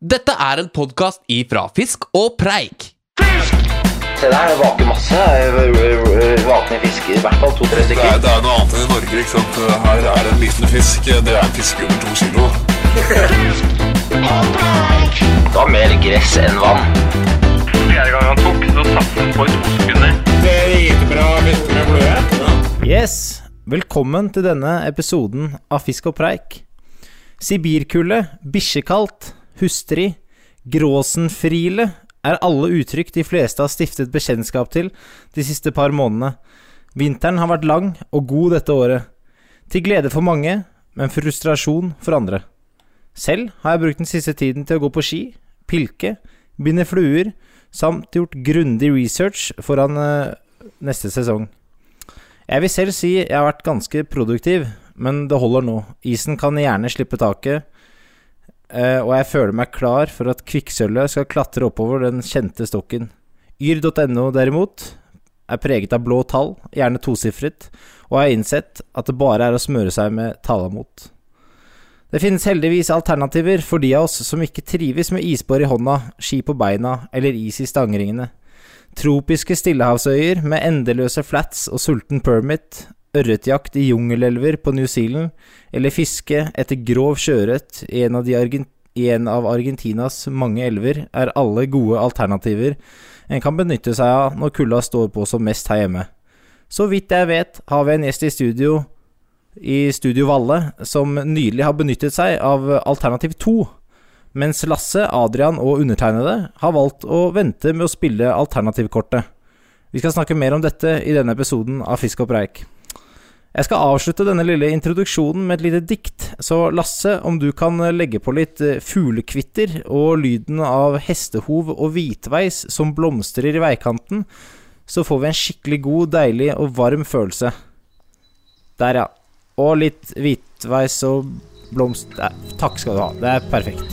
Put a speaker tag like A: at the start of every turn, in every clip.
A: Dette er en podkast ifra Fisk og Preik.
B: Se der, det vaker masse. eh, Vakne fisker, i hvert fall to-tre
C: Det
B: stykker.
C: er, det er noe annet enn i Norge, ikke sant? Her er det en liten fisk, det er en fisk under to kilo.
B: Da mer gress enn vann.
D: Fjerde gang han tok, så satt han på i to sekunder.
E: Yes, velkommen til denne episoden av Fisk og preik. Sibirkulde, bikkjekaldt, hustri, gråsenfrile er alle uttrykk de fleste har stiftet bekjentskap til de siste par månedene. Vinteren har vært lang og god dette året. Til glede for mange, men frustrasjon for andre. Selv har jeg brukt den siste tiden til å gå på ski, pilke, binde fluer, samt gjort grundig research foran eh, neste sesong. Jeg vil selv si jeg har vært ganske produktiv, men det holder nå. Isen kan gjerne slippe taket, eh, og jeg føler meg klar for at kvikksølvet skal klatre oppover den kjente stokken. Yr.no, derimot, er preget av blå tall, gjerne tosifret, og jeg har innsett at det bare er å smøre seg med talamot. Det finnes heldigvis alternativer for de av oss som ikke trives med isbår i hånda, ski på beina eller is i stangringene. Tropiske stillehavsøyer med endeløse flats og sulten permit, ørretjakt i jungelelver på New Zealand, eller fiske etter grov sjøørret i, en av de Argen- i en av Argentinas mange elver, er alle gode alternativer en kan benytte seg av når kulda står på som mest her hjemme. Så vidt jeg vet, har vi en gjest i studio, i Studio Valle, som nylig har benyttet seg av alternativ to mens Lasse, Adrian og undertegnede har valgt å vente med å spille alternativkortet. Vi skal snakke mer om dette i denne episoden av Fisk og preik. Jeg skal avslutte denne lille introduksjonen med et lite dikt, så Lasse, om du kan legge på litt eh, fuglekvitter og lyden av hestehov og hvitveis som blomstrer i veikanten, så får vi en skikkelig god, deilig og varm følelse. Der, ja. Og litt hvitveis og blomst... Nei, Takk skal du ha. Det er perfekt.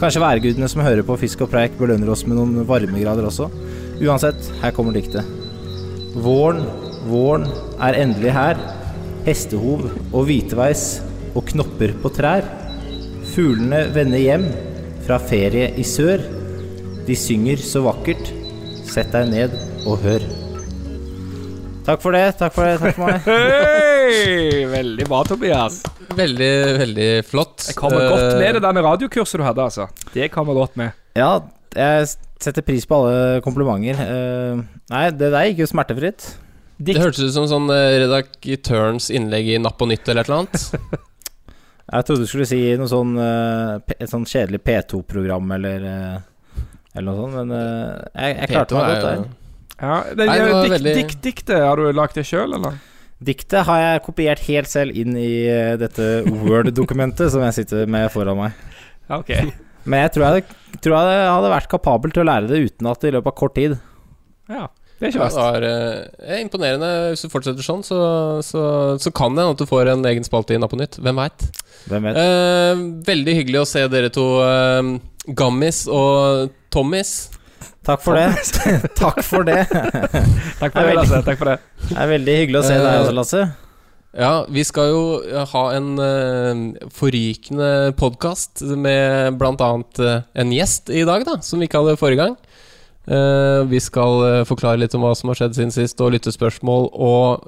E: Kanskje værgudene som hører på Fisk og preik belønner oss med noen varmegrader også. Uansett, her kommer diktet. Våren, våren er endelig her. Hestehov og hviteveis og knopper på trær. Fuglene vender hjem fra ferie i sør. De synger så vakkert. Sett deg ned og hør. Takk for det, takk for det, takk for meg.
F: Hei! Veldig bra, Tobias.
A: Veldig, veldig flott. Eh,
F: Jeg kommer godt med det der med radiokurset du hadde, altså. Det kommer godt med.
E: Ja, jeg setter pris på alle komplimenter. Eh, Nei, det der gikk jo smertefritt.
A: Det hørtes ut som sånn eh, redaktørens innlegg i Napp og Nytt eller et eller annet.
E: Jeg trodde du skulle si noe sånn eh, P- Et sånn kjedelig P2-program eller eh, Eller noe sånt, men eh, jeg, jeg klarte meg godt
A: Peter er
E: der.
A: jo-
F: Ja, det,
A: Nei, det var
F: dikt,
A: veldig-
F: dikt, diktet, har du lagd det sjøl, eller?
E: Diktet har jeg kopiert helt selv inn i eh, dette Word-dokumentet som jeg sitter med foran meg.
F: Ja, ok.
E: Men jeg tror jeg, tror jeg hadde vært kapabel til å lære det utenat i løpet av kort tid.
F: Ja, det er ikke
A: Ja,
F: verst.
A: det var eh, imponerende. Hvis du fortsetter sånn, så, så, så kan det hende at du får en egen spalte i Napp og Nytt. Hvem veit?
E: Hvem vet?
A: Eh, veldig hyggelig å se dere to, eh, Gammis og Tommis.
E: Takk for det. Takk for det. Det
F: Takk
E: det
F: for
E: er
F: det,
E: veldig-
F: Lasse. Takk for det.
E: er veldig hyggelig å se deg
A: Eh,
E: også, Lasse.
A: Ja, vi skal jo eh, ha en eh, forrykende podkast med bl.a. Uh, en gjest i dag, da, som vi ikke hadde forrige gang. Eh, vi skal eh, forklare litt om hva som har skjedd siden sist, og lyttespørsmål og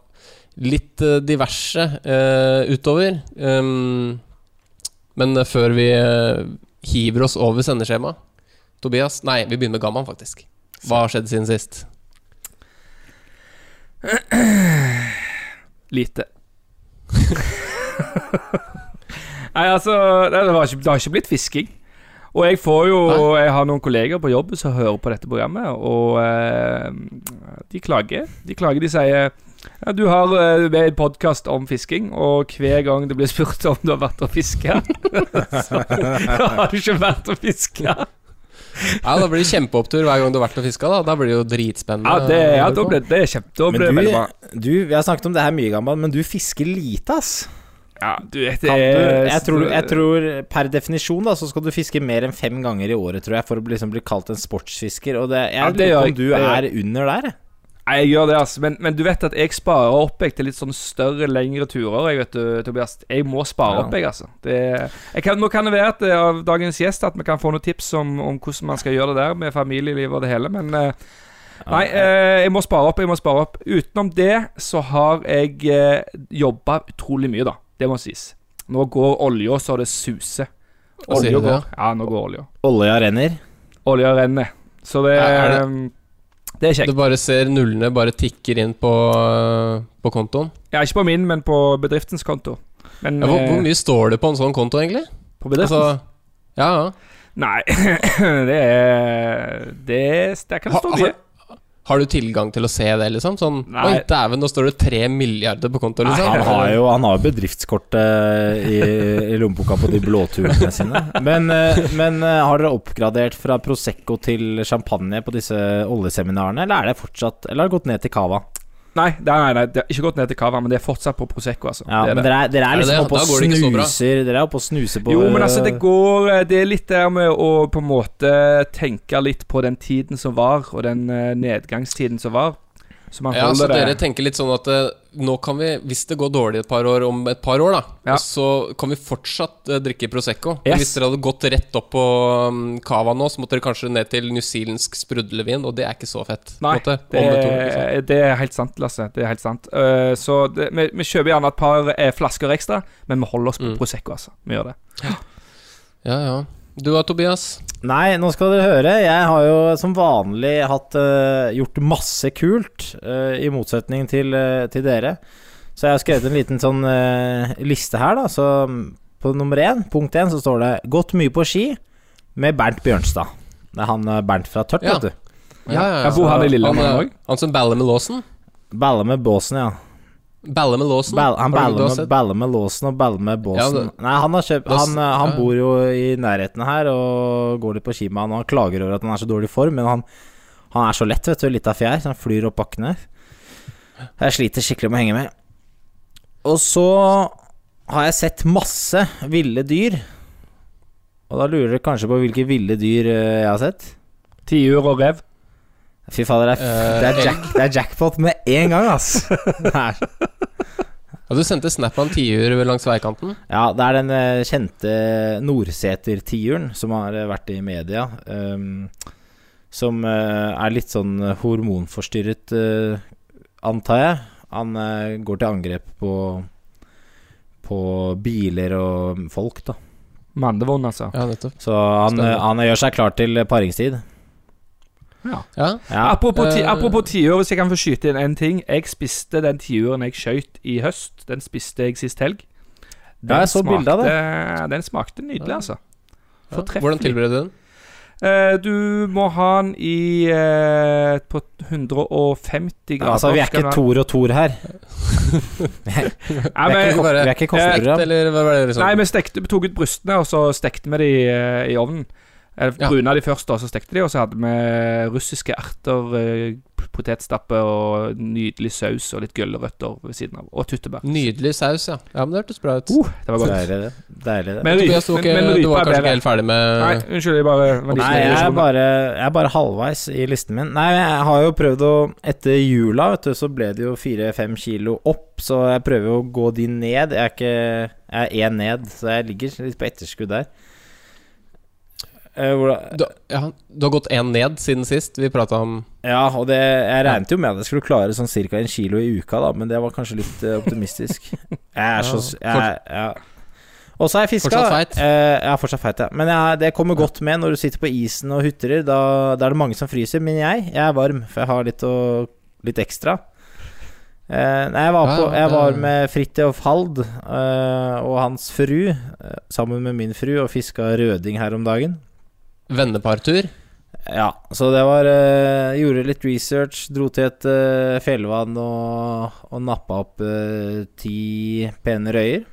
A: litt eh, diverse eh, utover. Ehm, men eh, før vi eh, hiver oss over sendeskjemaet Tobias Nei, vi begynner med Gamman, faktisk. Hva har skjedd siden sist?
F: Lite. Nei, altså det, det, var ikke, det har ikke blitt fisking. Og jeg får jo Jeg har noen kolleger på jobb som hører på dette programmet, og eh, de klager. De klager, de sier ja, du har eh, med en podkast om fisking, og hver gang det blir spurt om du har vært og fiska, så har du ikke vært og fiska.
A: Ja, Da blir det kjempeopptur hver gang du har vært og fiska. Da Da blir det jo dritspennende.
F: Ja, det, ja,
A: å høre
F: da
A: på.
F: ble det, kjempe, da ble det
E: sånn. Men
F: veldig
E: du,
F: bra.
E: du, vi har snakket om det her mye, gammel, men du fisker lite, ass.
F: Ja, du vet
E: Kan
F: det
E: du,
F: er-
E: jeg, tror, jeg tror per definisjon da Så skal du fiske mer enn fem ganger i året Tror jeg for å bli- liksom bli kalt en sportsfisker Og det, jeg
F: Ja, det
E: lurer
F: gjør
E: på
F: jeg-
E: om du
F: det gjør
E: er under der jeg.
F: Nei, jeg gjør det, altså. Men, men du vet at jeg sparer opp jeg, til litt sånn større, lengre turer. Jeg vet du, Tobias Jeg må spare
E: Ja.
F: opp, jeg, altså. Det, jeg kan, nå kan det være at eh, av dagens gjest at vi kan få noen tips om, om hvordan man skal gjøre det der med familieliv og det hele, men eh, Nei, eh, jeg må spare opp. jeg må spare opp Utenom det så har jeg eh, jobba utrolig mye, da. Det må sies. Nå går olja så det suser.
A: Hva sier
F: Olja
A: du det?
F: går. Ja, nå går olja.
E: Olja renner.
F: Olja renner. Så det,
A: Er- er
F: eh, det er kjekt.
A: Du bare ser nullene bare tikker inn på, eh, på kontoen.
F: Ja, ikke på min, men på bedriftens konto. Men
A: Ja, hvor,
F: eh,
A: hvor mye står det på en sånn konto, egentlig?
F: på bedriften?
A: Altså, ja, ja.
F: Nei, det er Det, det kan
A: Ha-
F: stå
A: altså-
F: mye.
A: har, har du tilgang til å se det, liksom? Sånn
F: Nei.
A: Oi, dæven, nå står det tre milliarder på konto, liksom.
E: Han har jo, han har jo bedriftskortet i, i lommeboka på de blåturene sine. Men, eh, men eh, har dere oppgradert fra Prosecco til champagne på disse oljeseminarene, eller er det fortsatt Eller har det gått ned til Cava?
F: Nei, det, nei, nei, det har ikke gått ned til Cava, men det er fortsatt på Prosecco. altså
E: Ja,
F: det er
E: men
F: det.
E: dere er, dere
A: Er
E: er
A: det
E: liksom
A: det?
E: oppe og
A: Da går det ikke så bra.
E: snuser Dere er oppe og snuser på
F: Jo, men altså, det
E: eh,
F: går eh, Det er litt der med å på en måte tenke litt på den tiden som var, og den eh, nedgangstiden som var. Så man
A: Ja, så
F: holder
A: dere
F: det
A: tenker litt sånn at eh, nå kan vi, hvis det går dårlig et par år, om et par år, da,
F: Ja.
A: så kan vi fortsatt eh, drikke Prosecco.
F: Yes.
A: Hvis dere hadde gått rett opp på um, Cava nå, så måtte dere kanskje ned til newzealandsk sprudlevin, og det er ikke så fett. på en
F: Nei,
A: måte,
F: det
A: om liksom. et år, ikke sant?
F: er, det er helt sant, Lasse. Det er helt sant. Eh, så det, vi, vi kjøper gjerne et par eh, flasker ekstra, men vi holder oss
A: Mm.
F: på Prosecco, altså. Vi gjør det.
A: Ja, ja. Du da, Tobias?
E: Nei, nå skal dere høre. Jeg har jo som vanlig hatt, eh, gjort masse kult, eh, i motsetning til, eh, til dere. Så jeg har skrevet en liten sånn eh, liste her, da. Så mm, på nummer én, punkt én, så står det 'Gått mye på ski' med Bernt Bjørnstad. Det er han eh, Bernt fra Tørt,
A: Ja.
E: vet du.
F: Jeg bor her i Lillehammer
A: Han,
F: også.
A: eh, han som baller med låsen?
E: Baller med båsen, ja.
A: Baller med låsen?
E: Ball, han
A: Har du- du har
E: baller med,
A: sett?
E: baller med låsen og baller med båsen.
A: Ja, det-
E: Nei, han, har kjøpt,
A: Da s-
E: han, eh, han
A: ja.
E: bor jo i nærheten her og går litt på ski med han. Og han klager over at han er så dårlig i form, men han, han er så lett, vet du. Litt av fjær. Så han flyr opp bakkene. Jeg sliter skikkelig med å henge med. Og så har jeg sett masse ville dyr. Og da lurer dere kanskje på hvilke ville dyr eh, jeg har sett.
F: Tiur og rev.
E: Fy fader, det er,
A: Eh,
E: det er, jack, det er jackpot med en gang, ass. Det er
A: Ja, du sendte snap av en tiur langs veikanten?
E: Ja, det er den eh, kjente Nordsæter-tiuren som har eh, vært i media. ehm, som eh, er litt sånn hormonforstyrret, eh, antar jeg. Han eh, går til angrep på, på biler og folk, da.
F: Mandevond, altså.
A: Ja, nettopp.
E: Så han, eh,
A: Stemmer.
E: han gjør seg klar til paringstid.
A: Ja,
E: Ja,
F: Apropos, ti,
A: Eh.
F: apropos tiur, hvis jeg kan få skyte inn en ting. Jeg spiste den tiuren jeg skjøt i høst. Den spiste jeg sist helg.
E: Ja, jeg så bildet av
F: smakte- Den smakte nydelig,
A: Ja.
F: altså.
A: ja.
F: Fortreffelig.
A: Hvordan tilbereder du den?
F: Eh, du må ha den i eh, på 150 grader.
E: altså, vi er
F: skal
E: ikke
F: du ha-
E: Tor og Tor her.
F: Nei,
E: Vi er
F: men,
E: ikke, kok-
A: bare-
E: vi er ikke
A: Stekt,
E: kosteprogram.
A: eller hva var det liksom?
F: nei, vi stekte, vi tok ut brystene, og så stekte vi de eh, i ovnen. Eh,
A: Ja.
F: Bruna de først, og så stekte de, og så hadde vi russiske erter, eh, p- potetstappe og nydelig saus og litt gulrøtter ved siden av. Og tyttebær.
A: Nydelig saus, ja. Ja, men Det hørtes bra ut.
F: Uh, det var godt.
E: Deilig, det. Deilig, det.
F: Men, ry-
A: Tobias, du, var ikke,
F: men, men rypa
A: du var
F: er
A: kanskje
F: bedre.
A: ikke helt eh, ferdig med
F: Nei, unnskyld, jeg bare var
E: Nei,
F: liten
E: jeg er,
F: irritasjon.
E: bare, jeg er bare halvveis i listen min. Nei, jeg har jo prøvd å Etter jula, vet du, så ble det jo fire-fem kilo opp, så jeg prøver jo å gå de ned. Jeg er ikke Jeg er én ned, så jeg ligger litt på etterskudd der. Eh, hvordan-
A: du, ja, du har gått én ned siden sist vi prata om
E: Ja, og det, jeg regnet jo med at jeg skulle klare sånn ca. en kilo i uka, da, men det var kanskje litt eh, optimistisk. Jeg er så s- jeg, ja. Og så har jeg fiska.
A: Fortsatt feit?
E: Eh, jeg er fortsatt feit, ja. Men jeg, det kommer godt med når du sitter på isen og hutrer. Da, da er det mange som fryser, men jeg, jeg er varm, for jeg har litt, å, litt ekstra. Eh, nei, jeg var,
A: Ja,
E: på,
A: ja,
E: jeg var
A: det-
E: med Fridtjof Hald eh, og hans fru, eh, sammen med min fru, og fiska røding her om dagen.
A: vennepartur.
E: Ja, så det var eh, Gjorde litt research, dro til et eh, fjellvann og, og nappa opp eh, ti pene røyer.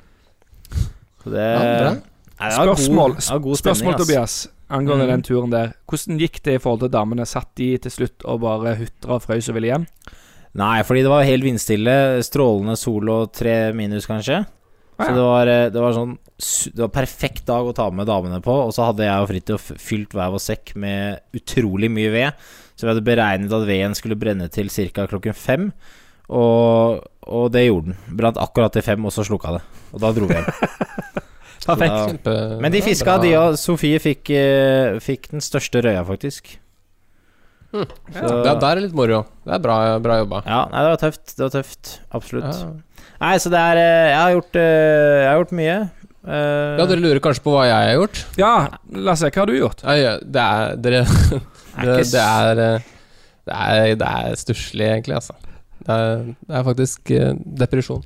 E: Så det,
A: Ja, bra.
E: Nei, det var god-
F: Spørsmål,
E: det var god
F: spørsmål
E: stemning, ass.
F: Tobias, angående
E: Mm.
F: den turen der. Hvordan gikk det i forhold til damene? Satt de til slutt og bare hutra og frøys og ville hjem?
E: Nei, fordi det var helt vindstille. Strålende sol og tre minus, kanskje.
F: Ah,
E: Så
F: ja.
E: det var, eh, det var sånn su- Det var perfekt dag å ta med damene på. Og så hadde jeg og Fridtjof fylt hver vår sekk med utrolig mye ved. Så vi hadde beregnet at veden skulle brenne til ca. klokken fem. Og, og det gjorde den. Brant akkurat til fem, og så slukka det. Og da dro vi hjem. Så da-
A: Kjempe,
E: men de fiska, de òg. Sofie fikk, eh, fikk den største røya, faktisk.
A: Mm.
E: Så,
A: Ja, der er litt moro. Det er bra, bra jobba.
E: ja, nei, det var tøft. Det var tøft. Absolutt.
A: Ja.
E: Nei, så det er eh, Jeg har gjort, eh, jeg har gjort mye. Eh,
A: Ja, dere lurer kanskje på hva jeg har gjort?
F: ja, Lasse, hva har du gjort?
A: Nei, ja, det er Dere Det,
E: ikke s-
A: det er eh, Det er, det er stusslig, egentlig, altså. Det er, det er faktisk eh, depresjon.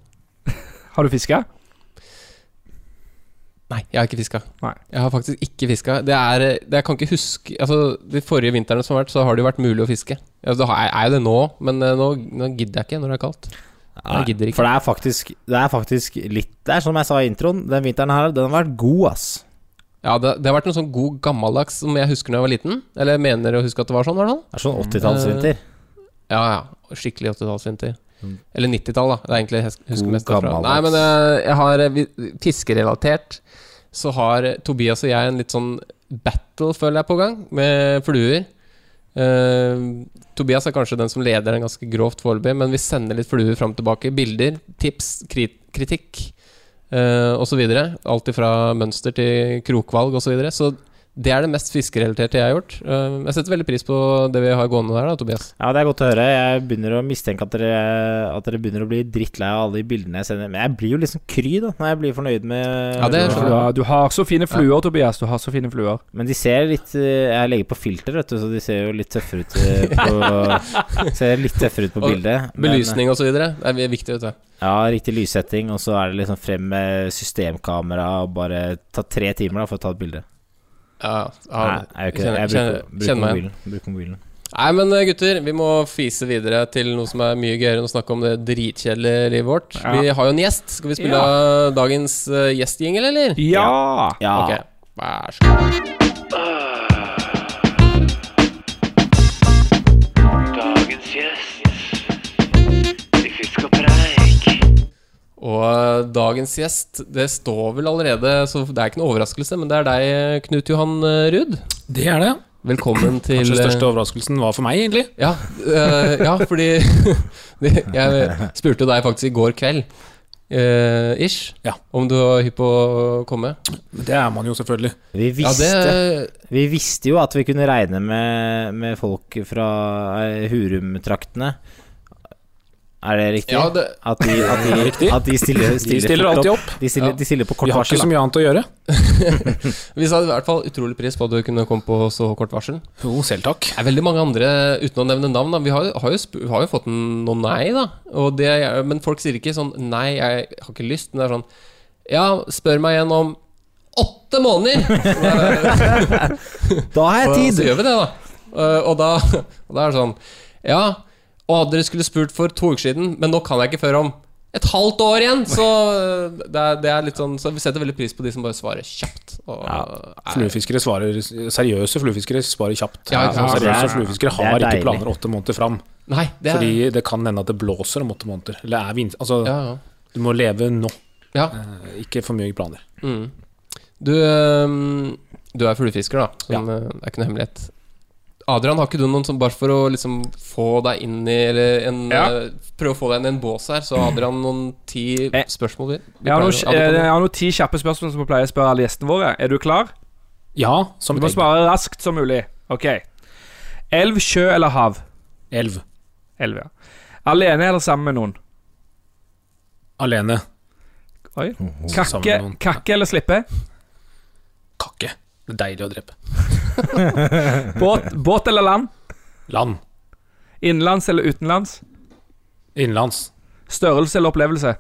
F: Har du fiska?
A: Nei, jeg har ikke fiska.
F: Nei.
A: Jeg har faktisk ikke fiska. Det er eh, det, Jeg kan ikke huske Altså, de forrige vintrene som har vært, så har det jo vært mulig å fiske. Ja, det har- er jo det nå, men eh, nå, nå gidder jeg ikke når det er kaldt.
E: Nei,
A: Jeg gidder ikke.
E: For det er faktisk Det er faktisk litt Det er som jeg sa i introen, den vinteren her, den har vært god, ass.
A: Ja, det, det har vært en sånn god gammeldags som jeg husker da jeg var liten. Eller jeg mener å huske at det var sånn, i hvert fall.
E: Det er sånn
A: eh.
E: 80-tallsvinter.
A: Ja, ja. Skikkelig 80-tallsvinter. Eller 90-tall, da. Det er egentlig jeg hus- husker
E: God
A: mest derfra.
E: gammeldags.
A: Nei, men eh, jeg har eh, vi- Fiskerelatert så har eh, Tobias og jeg en litt sånn battle, føler jeg, på gang, med fluer. Eh, Tobias er kanskje den som leder den ganske grovt foreløpig, men vi sender litt fluer fram og tilbake. Bilder, tips, krit kritikk uh, osv. Alt ifra mønster til krokvalg osv. Så, videre. så det er det mest fiskerelaterte jeg har gjort. Eh, jeg setter veldig pris på det vi har gående der, da, Tobias.
E: Ja, det er godt å høre. Jeg begynner å mistenke at dere, at dere begynner å bli drittlei av alle de bildene jeg sender. Men jeg blir jo liksom kry, da, når jeg blir fornøyd med
A: Ja, det sånn.
F: Du
A: skjønner jeg.
F: har, du har så fine fluer, Tobias. Du har så fine fluer.
E: Men de ser litt eh, Jeg legger på filter, vet du, så de ser jo litt tøffere ut eh, på Ser litt tøffere ut på
A: Og
E: bildet. men- eh,
A: Belysning osv. Det er viktig, vet du.
E: Ja, riktig lyssetting, og så er det liksom frem med systemkamera og bare ta tre timer da for å ta et bilde.
A: Ja, ja.
E: Nei, jeg gjør ikke det. Jeg
A: Kjenner-
E: bruker, bruker,
A: kjenner meg
E: mobilen. bruker mobilen.
A: Nei, men eh, gutter, vi må fise videre til noe som er mye gøyere enn å snakke om det dritkjedelige livet vårt.
F: Ja.
A: Vi har jo en gjest. Skal vi spille av dagens uh, gjestgjengel, eller?
F: Ja!
E: Ja.
A: Ok, vær så god.
B: Dagens gjest i Fisk og preik.
A: Og eh, dagens gjest, det står vel allerede, så det er ikke noe overraskelse, men det er deg, eh, Knut Johan eh, Ruud.
G: Det er det.
A: Velkommen til
G: Kanskje
A: eh,
G: den største overraskelsen var for meg, egentlig.
A: Ja, eh, ja fordi Jeg spurte deg faktisk i går kveld, eh, ish,
G: Ja.
A: om du var hypp på å komme.
G: Men Det er man jo selvfølgelig.
E: Vi
A: Ja,
E: visste,
A: det
E: vi visste jo at vi kunne regne med, med folk fra eh, Hurum-traktene. Er det riktig?
A: Ja, det
E: At de, at de,
G: riktig.
E: at de stiller,
G: De
E: stiller,
G: stiller
E: fort
G: alltid opp.
E: De stiller,
A: Ja.
E: de stiller på kort
G: Vi har ikke
E: varsel.
G: så
E: da.
G: mye annet å gjøre.
A: Vi sa i hvert fall utrolig pris på at du kunne komme på så kort varsel.
G: Jo, selv takk.
A: Det er veldig mange andre, uten å nevne navn, da. Vi har, har, jo, sp- har jo fått noen nei, da. Og det, er- men folk sier ikke sånn Nei, jeg har ikke lyst. Men det er sånn Ja, spør meg igjen om åtte måneder!
E: Da har jeg
A: Og
E: tid!
A: så gjør vi det, da. Eh, Og da, og da er det sånn Ja, og dere skulle spurt for to uker siden, men nå kan jeg ikke før om et halvt år igjen! Så eh, det er, det er litt sånn Så vi setter veldig pris på de som bare svarer kjapt. Og, er,
G: Fluefiskere svarer Seriøse fluefiskere svarer kjapt.
A: Ja, ikke sant.
G: Altså,
E: Det er-
G: seriøse fluefiskere
E: det
G: har
E: er
G: ikke
E: deilig.
G: planer åtte måneder fram.
A: eh, nei, det er
G: Fordi det kan hende at det blåser om åtte måneder. Eller er vind... Altså,
A: Ja, ja.
G: du må leve nå.
A: ja.
G: Eh, Ikke for mye planer.
A: Mm. Du, øhm, du er fluefisker, da. Som, øh, Det er ikke noe hemmelighet. Adrian, har ikke du noen som bare for å liksom få deg inn i Eller en,
F: Ja.
A: øh, prøve å få deg inn i en bås her, så har Adrian noen ti
F: Eh,
A: spørsmål? Vi, vi
F: Jeg har, noen,
A: pleier å-
F: eh,
A: ja, du
F: jeg
A: kan-
F: har noen ti kjappe spørsmål som vi pleier å spørre alle gjestene våre. Er du klar?
G: Ja, som
F: Du må
G: et egg.
F: svare raskt som mulig. Ok. Elv, sjø eller hav?
G: Elv.
F: Elv, ja. Alene eller sammen med noen?
G: Alene.
F: Oi.
E: Oh,
G: Sammen
F: Kakke,
G: med noen.
F: kakke eller slippe?
G: Kakke. Det er deilig å drepe.
F: Båt, båt eller land?
G: Land.
F: Innenlands eller utenlands?
G: Innenlands.
F: Størrelse eller opplevelse?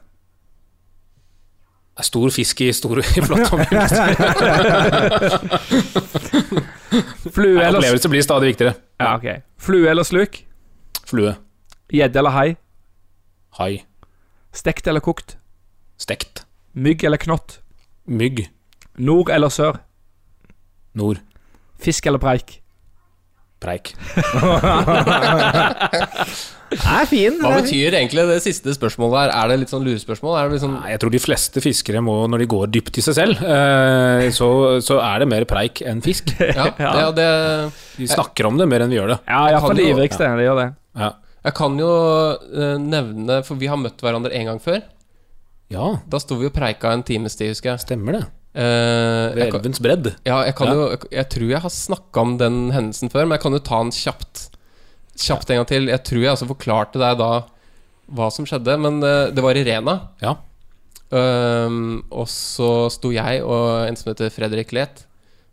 G: Det er stor fisk i store i flott omgivelser.
F: Flue eller,
G: Opplevelse blir stadig viktigere.
F: ja, ok. Flue eller sluk?
G: Flue.
F: Gjedde eller hai?
G: Hai.
F: Stekt eller kokt?
G: Stekt.
F: Mygg eller knott?
G: Mygg.
F: Nord eller sør?
G: Nord.
F: Fisk eller preik?
G: Preik.
E: Den er fin. den er fin.
A: Hva betyr egentlig det siste spørsmålet her? Er det litt sånn lurespørsmål? Er det liksom
G: Nei, jeg tror de fleste fiskere må, når de går dypt i seg selv, eh, så, så er det mer preik enn fisk.
A: Ja, det, ja, det
G: De snakker om det mer enn vi gjør det.
F: Ja,
A: Jeg kan
F: iallfall de
A: jo-
F: ivrigste. De gjør det.
G: Ja.
A: Jeg kan jo eh, nevne, for vi har møtt hverandre en gang før.
G: ja,
A: Da sto vi og preika en times tid, husker jeg.
G: stemmer det.
A: Eh,
G: Ved
A: jeg, kan-
G: elvens bredd.
A: ja, jeg, kan
G: Ja.
A: jo, jeg, jeg tror jeg har snakka om den hendelsen før, men jeg kan jo ta den kjapt. Kjapt en gang til. Jeg tror jeg også forklarte deg da hva som skjedde, men eh, det var Irena.
G: Ja.
A: Ehm, og så sto jeg og en som heter Fredrik Let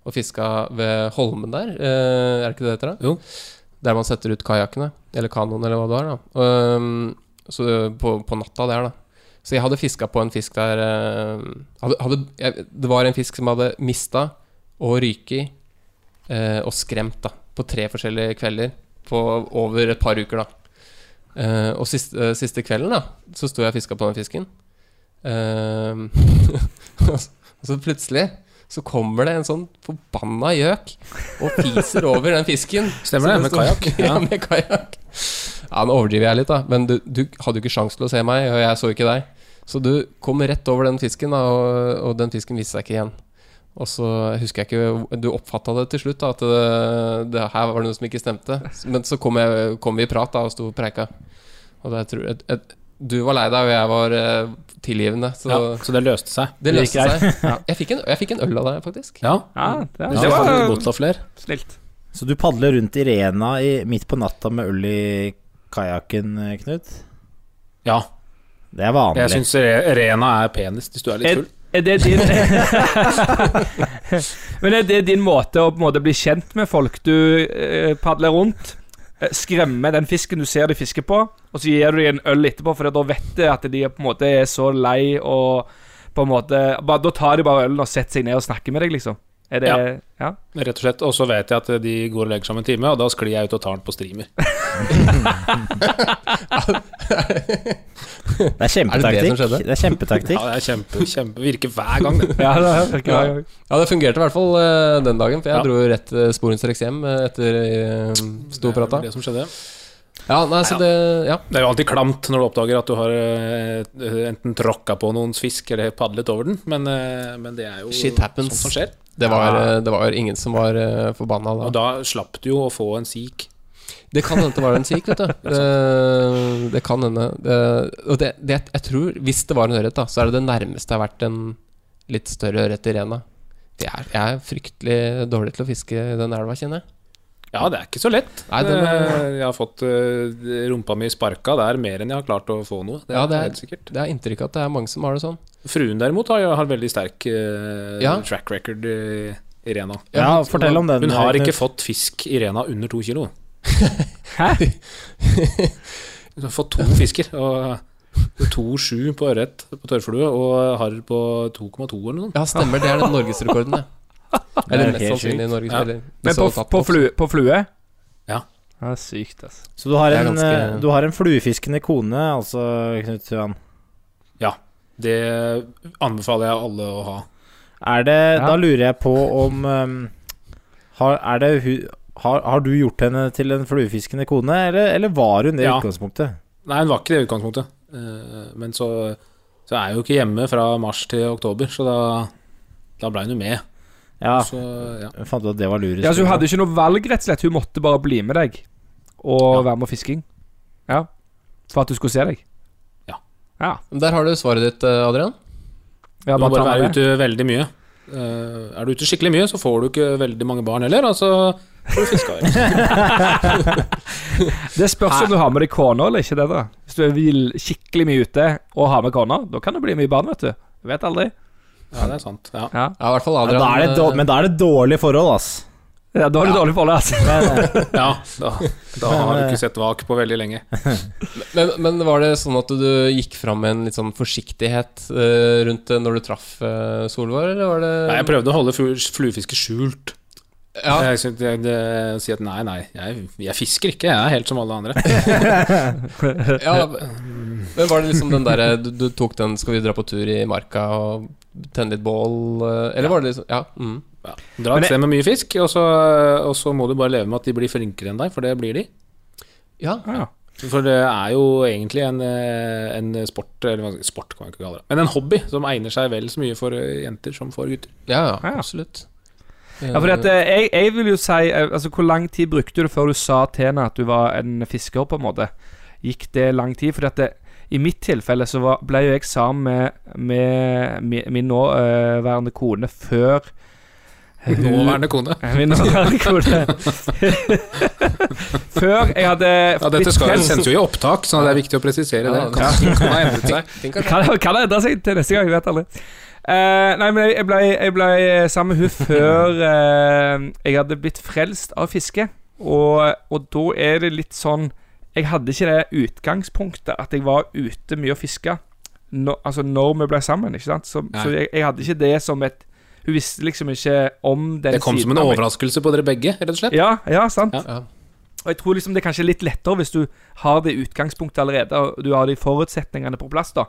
A: og fiska ved Holmen der. Eh, er det ikke det det heter? da?
G: Jo.
A: Der man setter ut kajakkene, eller kanoen, eller hva det er. da Ehm, Så på, på natta der, da. Så jeg hadde fiska på en fisk der ehm, hadde, hadde, jeg, Det var en fisk som hadde mista og ryket i eh, og skremt, da. På tre forskjellige kvelder på over et par uker, da. Eh, og siste, eh, siste kvelden, da, så sto jeg og fiska på den fisken. Ehm, og så- og så plutselig så kommer det en sånn forbanna gjøk og fiser over den fisken.
G: Stemmer
A: Så
G: det, med
A: står-
G: kajakk.
A: Ja.
G: Ja.
A: med kajak. Ja, nå overdriver jeg litt, da, men du, du hadde jo ikke sjanse til å se meg, og jeg så ikke deg. Så du kom rett over den fisken, da, og, og den fisken viste seg ikke igjen. Og så husker jeg ikke Du oppfatta det til slutt, da, at det, det her var det noe som ikke stemte. Men så kom, jeg, kom vi i prat da og sto og preika. Og da tror jeg, jeg- du var lei deg, og jeg var eh, tilgivende. Så
G: Ja, så det løste seg.
A: det
F: Det gikk
A: løste seg. Jeg fikk, en, jeg fikk en øl av deg, faktisk.
G: Ja.
F: Ja, det,
G: Ja,
F: det
G: det hadde
F: var
G: godt av flere.
F: snilt.
E: Så du padler rundt Irena i, midt på natta med øl i kajakken, eh, Knut?
G: Ja.
E: Det er vanlig.
G: Jeg syns Rena er penest hvis du er litt
F: Er,
G: full.
F: er det din Men er det din måte å på en måte bli kjent med folk du eh, padler rundt? eh, Skremme den fisken du ser de fisker på, og så gir du dem en øl etterpå, for da vet du at de er på en måte er så lei og på en måte bare, Da tar de bare ølen og setter seg ned og snakker med deg, liksom. Er det Ja.
G: Ja. Rett og slett. Og så vet jeg at de går og legger seg om en time, og da sklir jeg ut og tar den på streamer.
E: Det er
A: Er det
E: kjempetaktikk.
A: det som
E: Det,
A: skjedde?
E: er kjempetaktikk.
G: Ja, det er kjempe, kjempe Virker hver gang, det.
F: Ja, det er, det er,
A: Ja, det fungerte i hvert fall eh, den dagen, for jeg
G: Ja.
A: dro jo rett eh, sporenstreks hjem eh, etter uh, sto og prata.
G: Det, er det, som skjedde.
A: Ja, nei, så det Ja.
G: det er jo alltid klamt når du oppdager at du har eh, enten tråkka på noens fisk eller padlet over den, men, eh, men det er jo
A: Shit happens.
G: sånt som skjer.
A: Det var, eh, det var ingen som var eh, forbanna
G: Og
A: da.
G: da slapp du jo å få en sik.
A: Det kan hende det var en sik, vet du. Det, det kan hende. Det, og det, det, jeg tror, hvis det var en ørret, da, så er det det nærmeste jeg har vært en litt større ørret i Rena. Jeg er, jeg er fryktelig dårlig til å fiske i den elva, kjenner jeg.
G: Ja, det er ikke så lett.
A: Nei, det var-
G: Eh, Jeg har fått eh, rumpa mi sparka der mer enn jeg har klart å få noe. Det er,
A: Ja, det er-
G: helt sikkert.
A: Det er inntrykk av at det er mange som har det sånn.
G: Fruen derimot har, har veldig sterk eh,
A: Ja.
G: track record i i Rena.
E: Ja, fortell om den.
G: Hun har ikke
E: Knut.
G: fått fisk i Rena under to kilo.
F: Hæ?
G: Hun har fått to fisker. Og 2,7 på ørret på tørrflue og harr på 2,2 eller noe sånt.
A: Ja, stemmer. Det er den norgesrekorden, det.
E: Det
A: Eller
E: er
A: mest
E: helt
A: sannsynlig Norges
G: Ja.
A: eller,
F: Men
A: så
F: på,
A: tapt
F: på,
A: opp.
F: flue, på flue?
G: Ja.
F: Det er sykt, altså.
E: Så du har,
A: Det er
E: en,
A: ganske-
E: eh, du har en fluefiskende kone, altså, Knut Tuan.
G: Det anbefaler jeg alle å ha.
E: Er det
F: Ja.
E: Da lurer jeg på om eh, har, er det, hu- har, har du gjort henne til en fluefiskende kone, eller, eller var hun det i
G: Ja.
E: utgangspunktet?
G: Nei, hun var ikke det i utgangspunktet. Eh, Men så, så er jeg jo ikke hjemme fra mars til oktober, så da, da blei hun jo med.
E: Ja,
G: Så ja.
E: hun fant ut at det var lurest.
F: Ja, så Hun hadde ikke noe valg, rett og slett. Hun måtte bare bli med deg og være med fisking. Ja. For at du skulle se deg.
G: Ja.
F: ja.
A: Men Der har du svaret ditt, eh, Adrian.
F: ja
G: Du må bare
F: ta med
G: være
F: det.
G: ute veldig mye. Eh, Er du ute skikkelig mye, så får du ikke veldig mange barn heller, altså. og så får du fiska.
F: Det spørs om du har med deg kona eller ikke. det da Hvis du er vill, skikkelig mye ute og har med kona, da kan det bli mye barn, vet du. Du vet aldri.
G: Ja, det er sant. Ja.
F: Ja,
A: Ja, i hvert fall
E: Ja,
A: Adrian.
E: da er det et dår-
A: eh,
E: men da er det et dårlig forhold, ass.
F: ja Da har du dårlig forhold, altså.
G: Ja, da, da har du ikke sett vak på veldig lenge.
A: men, men var det sånn at du gikk fram med en litt sånn forsiktighet eh, rundt det når du traff eh, Solvår, eller var det
G: Nei, jeg prøvde å holde flu- fluefiske skjult.
A: ja,
G: Jeg syntes- jeg- det- Si at nei, nei, jeg, jeg fisker ikke, jeg er helt som alle andre.
A: ja, men var det liksom den derre du, du tok den 'skal vi dra på tur i marka' og tenne litt bål, eh, eller var det liksom Ja. Mm.
G: Dra
F: Men
G: et
F: jeg-
G: sted med mye fisk, og så, og så må du bare leve med at de blir flinkere enn deg, for det blir de.
A: Ja.
F: Ah, ja.
G: For det er jo egentlig en, eh, en sport, eller hva- sport kan man ikke kalle det, men en hobby som egner seg vel så mye for eh, jenter som for gutter.
A: Ja,
F: Ja,
A: ja,
F: ja.
A: absolutt.
F: Ja, fordi at eh, jeg, jeg vil jo si eh, Altså, hvor lang tid brukte du før du sa til henne at du var en fisker, på en måte? Gikk det lang tid? Fordi at det, i mitt tilfelle så var, ble jo jeg sammen med, med, mi- min nåværende kone før hun-
G: Nåværende kone.
F: Min nåværende kone. før jeg hadde
G: Ja, dette skal jo
F: blitt frelst-
G: sendes jo i opptak, så det er viktig å presisere det.
A: Ja, det-
G: Kan, kan ha endret seg.
A: Tenk at
F: Kan, kan det endre seg til neste gang? Jeg vet aldri. Eh, nei, men jeg, jeg, ble, jeg ble eh, sammen med hun før eh, jeg hadde blitt frelst av fiske. Og, og da er det litt sånn Jeg hadde ikke det utgangspunktet at jeg var ute mye og fiska når- altså når vi ble sammen. ikke sant? Så, så jeg, jeg hadde ikke det som et Hun visste liksom ikke om den
G: Det kom som en
F: av meg.
G: overraskelse på dere begge, rett og slett.
F: Ja, ja, sant.
G: Ja.
A: Ja.
F: Og jeg tror liksom det er kanskje litt lettere hvis du har det utgangspunktet allerede, og du har de forutsetningene på plass, da.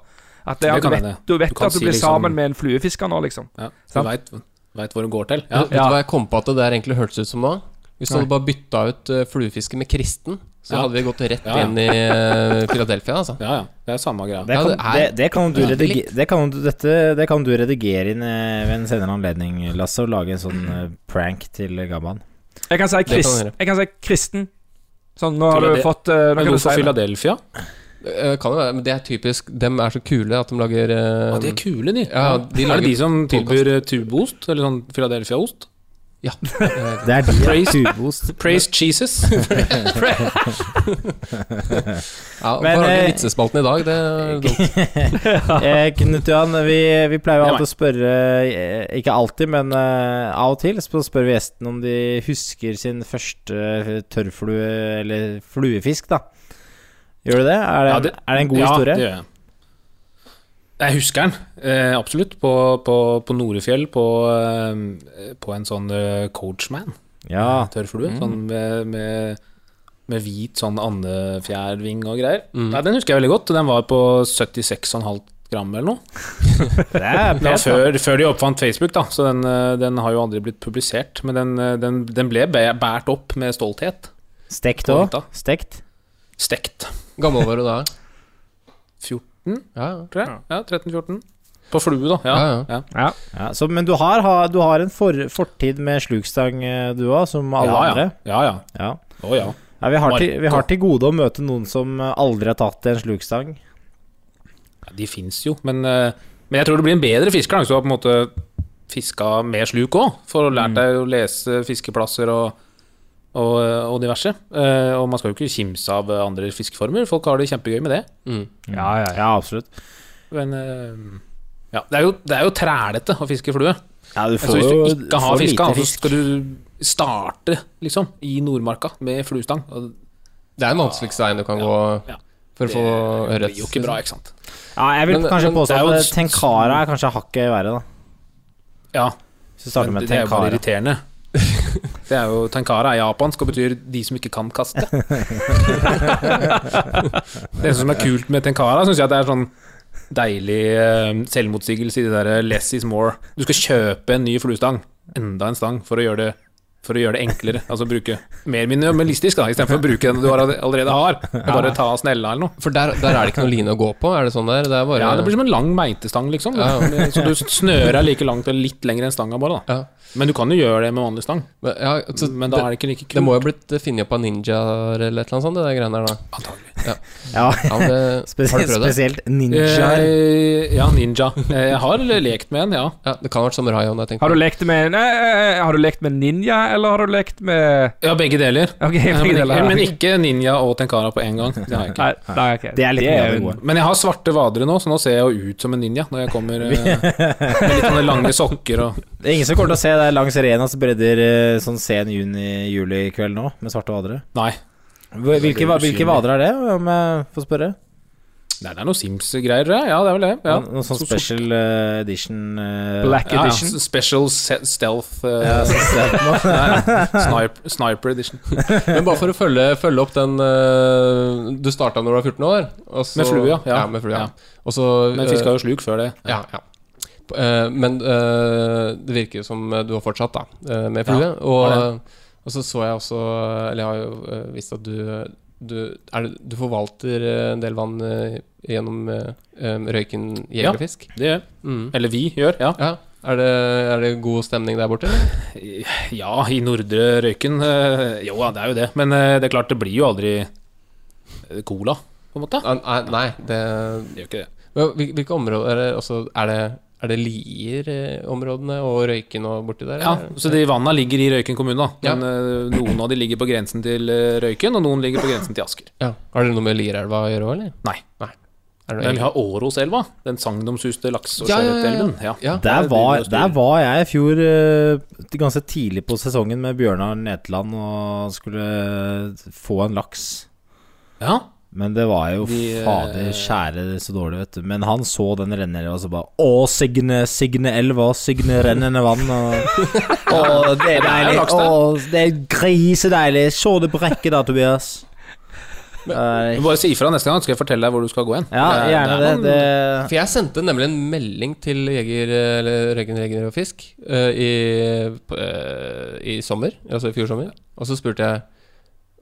F: At det,
G: Det
F: at du
G: kan
F: vet,
G: hende.
F: du vet
G: Du kan
F: at du
G: si
F: blir
G: liksom-
F: sammen med en fluefisker nå, liksom.
G: Ja, du
F: Sant.
G: veit hvor hun går til.
A: Eh, Ja,
G: Ja.
A: vet
F: Ja.
A: du hva jeg kom på at det der egentlig hørtes ut som nå? Hvis du hadde bare bytta ut eh, fluefiske med kristen, så
G: Ja.
A: hadde vi gått rett
G: Ja, ja.
A: inn i eh, Philadelphia, altså.
G: ja, ja. Det er samme greia.
E: Det
A: Ja,
E: kan,
A: det er-
E: det, det kan du
A: Ja.
E: redigere, det kan, du- dette, det kan du redigere inn eh, ved en senere anledning, Lasse, og lage en sånn eh, prank til gammaen.
F: Jeg kan si,
A: kan
F: krist,
A: du gjøre.
F: jeg kan si kristen. Sånn, nå har
G: Tror
F: du
G: jeg det-
F: fått eh, Nå
G: Men
F: kan du si
G: hvorfor
F: det.
G: Philadelphia?
A: Eh, Kan jo være, men det er typisk. Dem er så kule at de lager eh,
G: Ja, de er kule, de.
A: Ja, de
G: er
A: lager
G: det de som tilbyr eh, tuboost? Eller sånn Philadelphia-ost?
E: Det er de, ja.
G: Praise-
E: Tubost.
G: Praise Jesus.
A: ja,
E: Men,
A: Hvorfor har
E: eh,
A: du vitsespalten i dag? Det er dumt.
E: Eh, Knut Johan, vi, vi pleier jo
G: Det er
E: alltid å spørre eh, Ikke alltid, men eh, av og til så spør vi gjesten om de husker sin første eh, tørrflue, eller fluefisk, da. Gjør du det? Er det,
G: Ja, det-
E: er det en god
G: ja,
E: historie?
G: det gjør jeg. Jeg husker den, eh, absolutt. På, på, på Norefjell, på, eh, på en sånn eh, coachman.
E: Ja.
G: Tørrflue. Sånn med, med, med hvit sånn andefjærving og greier. Nei, den husker jeg veldig godt. Den var på 76,5 gram eller noe. Det
E: Det er
G: var
E: pent.
G: altså, før, før de oppfant Facebook, da, så den, eh, den har jo aldri blitt publisert. Men den, eh, den, den ble bæ- båret opp med stolthet.
E: Stekt
G: på
E: òg?
G: hytta.
E: Stekt?
G: Stekt.
A: Gammel var du da?
G: 14,
A: Ja,
G: tror jeg. Ja, 13-14. På flue, da. Ja.
A: Ja,
G: ja.
F: Ja.
E: Ja, så, men du har, ha- du har en for, fortid med slugstang, eh, du òg, som alle
G: ja, ja.
E: andre.
G: ja, ja.
E: Ja.
G: Å ja.
E: Ja, vi, har til, vi
G: Marco.
E: har til gode å møte noen som eh, aldri har tatt en slugstang.
G: Ja, De fins jo, men, eh, men jeg tror du blir en bedre fisker da, hvis du har på en måte fiska med sluk òg, for å lært deg å lese fiskeplasser og, og, og diverse. Eh, Og man skal jo ikke kimse av andre fiskeformer, folk har det kjempegøy med det.
E: Ja, ja, ja, absolutt.
G: Men eh, ja, det er jo, det er jo trælete å fiske flue.
E: Ja, du
G: Altså,
E: får
G: hvis
E: jo
G: du ikke har
E: får
G: fiska,
E: lite
G: så
E: fisk.
G: skal du starte liksom, i Nordmarka med fluestang. Og
A: Det er den vanskeligste veien du kan gå
G: ja.
A: for å få
G: det
A: ørret.
G: blir jo ikke bra, ikke sant.
E: Ja, jeg vil
A: Men-
E: kanskje
A: men
E: påstå
G: det er jo
E: at
G: et-
E: eh, Tenkara er kanskje hakket verre, da.
G: Ja,
E: Hvis du starter
G: men
E: med
G: det er jo bare
E: Tenkara.
G: irriterende. Det er jo, Tenkara er japansk og betyr 'de som ikke kan kaste'. det som er kult med Tenkara, syns jeg at det er sånn deilig eh, selvmotsigelse i det derre 'less is more'. Du skal kjøpe en ny fluestang, enda en stang, for å gjøre det for å gjøre det enklere. Altså bruke mer minimalistisk da, istedenfor å bruke den du har- allerede har. Og bare ta av snella eller noe.
A: For der, der er det ikke noe line å gå på? Er det sånn der? Det er bare
G: Ja, det blir som en lang meitestang, liksom.
A: Ja.
G: Så du snører litt langt eller litt lenger enn stanga bare, da.
A: Ja.
G: Men du kan jo gjøre det med vanlig stang.
A: Men- ja, så
G: Men da
A: det,
G: er det ikke like
A: det
G: kult.
A: må jo ha blitt eh, funnet opp av ninjaer eller et eller annet sånt, det der greiene der da.
G: Antagelig.
E: Ja,
A: Ja, men det- har du
E: spesielt,
A: prøvd det?
E: spesielt ninjaer.
G: Eh, ja, ninja. Eh, Jeg har lekt med en, ja.
A: Ja, det kan ha vært som Rayon. jeg tenkte
F: Har
A: på.
F: du lekt med nei, eh, Har du lekt med ninja, eller har du lekt med
G: Ja, begge deler.
F: Ok,
G: Eh,
F: begge
G: men,
F: deler.
G: Ikke, men ikke ninja og tenkara på en gang. Det har jeg ikke.
F: Nei, nei, ok.
E: Det er litt mer av det
F: jo-
E: gode.
G: Men jeg har svarte vadere nå, så nå ser jeg jo ut som en ninja når jeg kommer eh, med litt sånne lange sokker og
E: Det er ingen som kommer til å se deg langs Renas bredder eh, sånn sen juni-juli-kveld nå, med svarte vadere.
G: Nei.
E: Hva- Hvilke, va- hvilke vader er det, om jeg får spørre?
G: Nei, det er noe Sims-greier, ja. Ja, det er vel det. Ja.
E: Noen sånn
G: Så-
E: special eh, edition eh,
F: Black
G: ja, ja.
F: edition.
G: Special se- stealth
E: Ja,
G: eh,
E: så ser jeg på meg.
G: sniper, sniper edition.
A: Men bare for å følge, følge opp den øh, Du starta når du var 14 år. og så-
G: Med flua, ja.
A: med flua.
G: Ja.
A: Og så
G: Men fiska jo sluk før det.
A: øh, ja, ja. Eh, men eh, det virker jo som du har fortsatt, da, eh, med flue.
G: har
A: og, og så så jeg også Eller jeg har jo eh, visst at du du, er, det- du forvalter eh, en del vann eh, gjennom eh, eh, røyken jegerfisk?
G: Det gjør
A: Mm.
G: Eller vi gjør, ja.
A: Ja. Er det, er det god stemning der borte? eller?
G: Ja, i Nordre Røyken. eh, Jo ja, det er jo det. Men eh, det er klart, det blir jo aldri eh, cola, på en måte.
A: Ah, Nei, nei det,
G: Det gjør ikke det.
A: Men hvil- Hvilke områder er det også Er det, er det Lier-områdene og Røyken og borti der?
G: Ja,
A: eller?
G: Så de vanna ligger i Røyken kommune, da.
A: Ja.
G: Men eh, noen av de ligger på grensen til eh, Røyken, og noen ligger på grensen til Asker.
A: ja. Har dere noe med Lierelva å gjøre òg, eller?
G: Nei.
A: Er det noe
G: Men vi har Åroselva. Den sagnomsuste lakse- og
A: Ja, ja, ja, ja.
G: sjøørretelven. Ja,
A: Ja.
E: Der
G: det
E: var,
G: driver
E: der
G: og styrer.
E: var jeg i fjor eh, ganske tidlig på sesongen med Bjørnar Netland og skulle få en laks.
G: ja.
E: Men det var jo
G: De, eh,
E: fader skjære så dårlig, vet du. Men han så den renneelva og så bare Å, Signe, Signe elva, Signe rennende vann. Og, å, det er deilig.
G: laks der.
E: Å, det er grisedeilig. Se det brekket da, Tobias. Eh,
G: Men Bare si ifra neste gang, skal jeg fortelle deg hvor du skal gå hen.
E: ja,
G: Det er-
E: gjerne
G: det
E: det.
G: er noen-
E: det.
A: For jeg sendte nemlig en melding til Jeger eller Røyken Jeger og Fisk eh, i, på, eh, i sommer, altså i fjor sommer, og så spurte jeg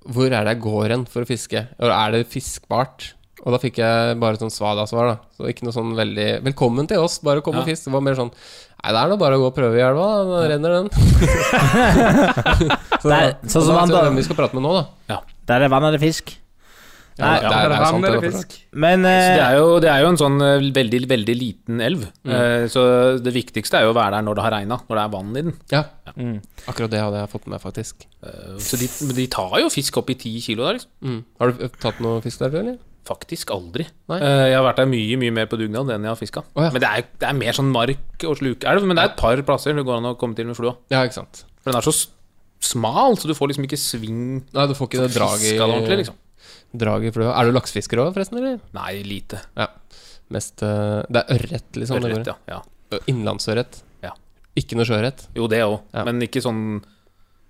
A: hvor er det jeg går hen for å fiske, og er det fiskbart? Og da fikk jeg bare sånn svada-svar, da. Så ikke noe sånn veldig 'Velkommen til oss, bare kom og
G: Ja.
A: fisk'. Det var mer sånn 'Nei, det er nå bare å gå og prøve i elva, da. Da renner den'. så,
E: Det er- sånn som
A: og da,
E: han
A: så
E: da-
A: hvem vi skal prate med nå, da.
E: Der er vann, er det fisk.
A: Ja,
E: Nei,
A: det er- det er sant,
F: vann
A: det
F: eller
A: er
F: fisk?
A: klart.
E: Men
G: Så
E: eh,
G: det er, jo, det er jo en sånn eh, veldig, veldig liten elv. Eh, Så det viktigste er jo å være der når det har regna, når det er vann i den.
A: Ja.
F: Mm.
A: Akkurat det hadde jeg fått med meg, faktisk.
G: Eh, Så de, men de tar jo fisk opp i ti kilo der, liksom.
A: Mm. Har du eh, tatt noe fisk der, du, eller?
G: Faktisk aldri.
A: Nei.
G: Eh, Jeg har vært der mye mye mer på dugnad enn jeg har fiska.
A: Å, ja.
G: Men det er, det er mer sånn mark og slukelv. Men det er et par plasser det går an å komme til med flua.
A: Ja, ikke sant.
G: For den er så s- smal, så du får liksom ikke sving
A: Nei, du får ikke det draget
G: fiska den ordentlig, liksom.
A: Draget i flua. Er du laksefisker òg, forresten? eller?
G: Nei, lite.
A: Mest, eh, det er ørret, liksom. det
G: Ørret,
A: går i.
G: ja. ja.
A: Innlandsørret.
G: Ja.
A: Ikke noe sjøørret.
G: Jo, det òg.
A: Ja.
G: Men ikke sånn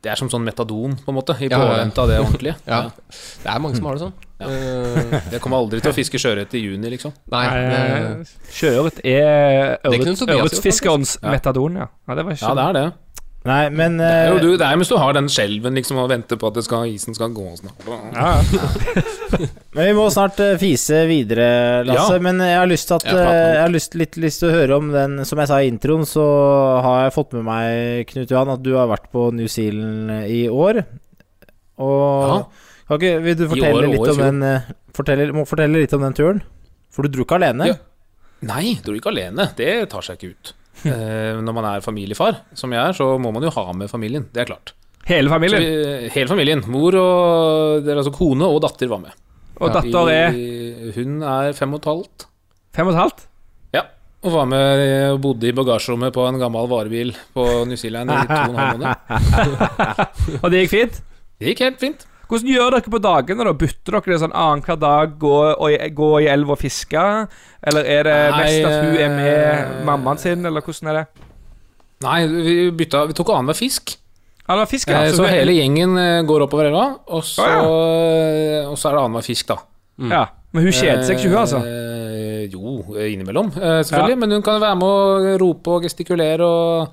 G: Det er som sånn metadon, på en måte. I
A: Ja, ja, ja.
G: påvente av det ordentlige.
A: Ja. Det er mange som har det sånn.
G: Ja.
A: Eh,
G: Jeg kommer aldri til å fiske sjøørret i juni, liksom.
A: nei, eh, det,
F: eh, Sjøørret er
A: Det kunne Tobias gjort,
F: ørretfiskerens
G: Ja.
F: metadon, ja. ja. Det var ikke
G: Ja, det er det.
E: Nei, men
G: Det er jo
E: eh,
G: du, det er jo mens du har den skjelven liksom, og venter på at det skal, isen skal gå og sånn.
F: Ja, ja.
E: Men vi må snart eh, fise videre, Lasse.
G: Ja.
E: Men jeg har lyst til at
G: Ja, prate om
E: eh,
G: det.
E: Jeg har lyst, litt lyst til å høre om den Som jeg sa i introen, så har jeg fått med meg, Knut Johan, at du har vært på New Zealand eh, i år. Og
G: Ja.
E: kan ikke, Vil du fortelle
G: år og
E: litt
G: i
E: om
G: fjor.
E: den eh, fortelle, Må fortelle litt om den turen? For du dro ikke alene?
G: Ja. Nei, du er ikke alene. Det tar seg ikke ut. Eh, når man er familiefar, som jeg er, så må man jo ha med familien. Det er klart.
F: Hele
G: Så
F: familien.
G: vi, hele familien. Mor og dere, altså kone og datter var med.
F: Og datter er
G: I- Hun er fem og et halvt.
F: fem og et halvt.
G: Ja. Og var med eh, og bodde i bagasjerommet på en gammel varebil på New Zealand i to og en halv måned.
F: Og det gikk fint?
G: Det gikk helt fint.
F: Hvordan gjør dere på dagene? da? Bytter dere det sånn annenhver dag, gå, og, gå i elva og fiske? Eller er det
G: Nei,
F: mest at hun er med
G: eh,
F: mammaen sin, eller hvordan er det?
G: Nei, vi, bytta, vi tok annenhver fisk.
F: Ja, det var altså. fisk,
G: Eh,
F: ja.
G: så
F: hun-
G: hele gjengen eh, går oppover elva, og så, eh, og så er det annenhver fisk, da.
F: Mm. ja. Men hun kjeder seg ikke, hun, altså.
G: Eh, jo, eh, innimellom, eh, selvfølgelig. Men hun kan være med og rope og gestikulere og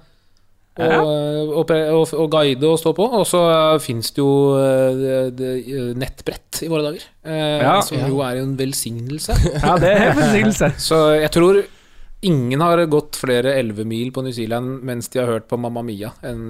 G: og,
F: Ja.
G: eh, og, pre- og, og guide og stå på. Og så fins det jo eh, det- det- nettbrett i våre dager, eh,
F: Ja.
G: som
A: Ja.
G: jo er en velsignelse.
F: Ja, det er forsinkelse.
G: Så jeg tror ingen har gått flere elvemil på New Zealand mens de har hørt på Mamma Mia. Enn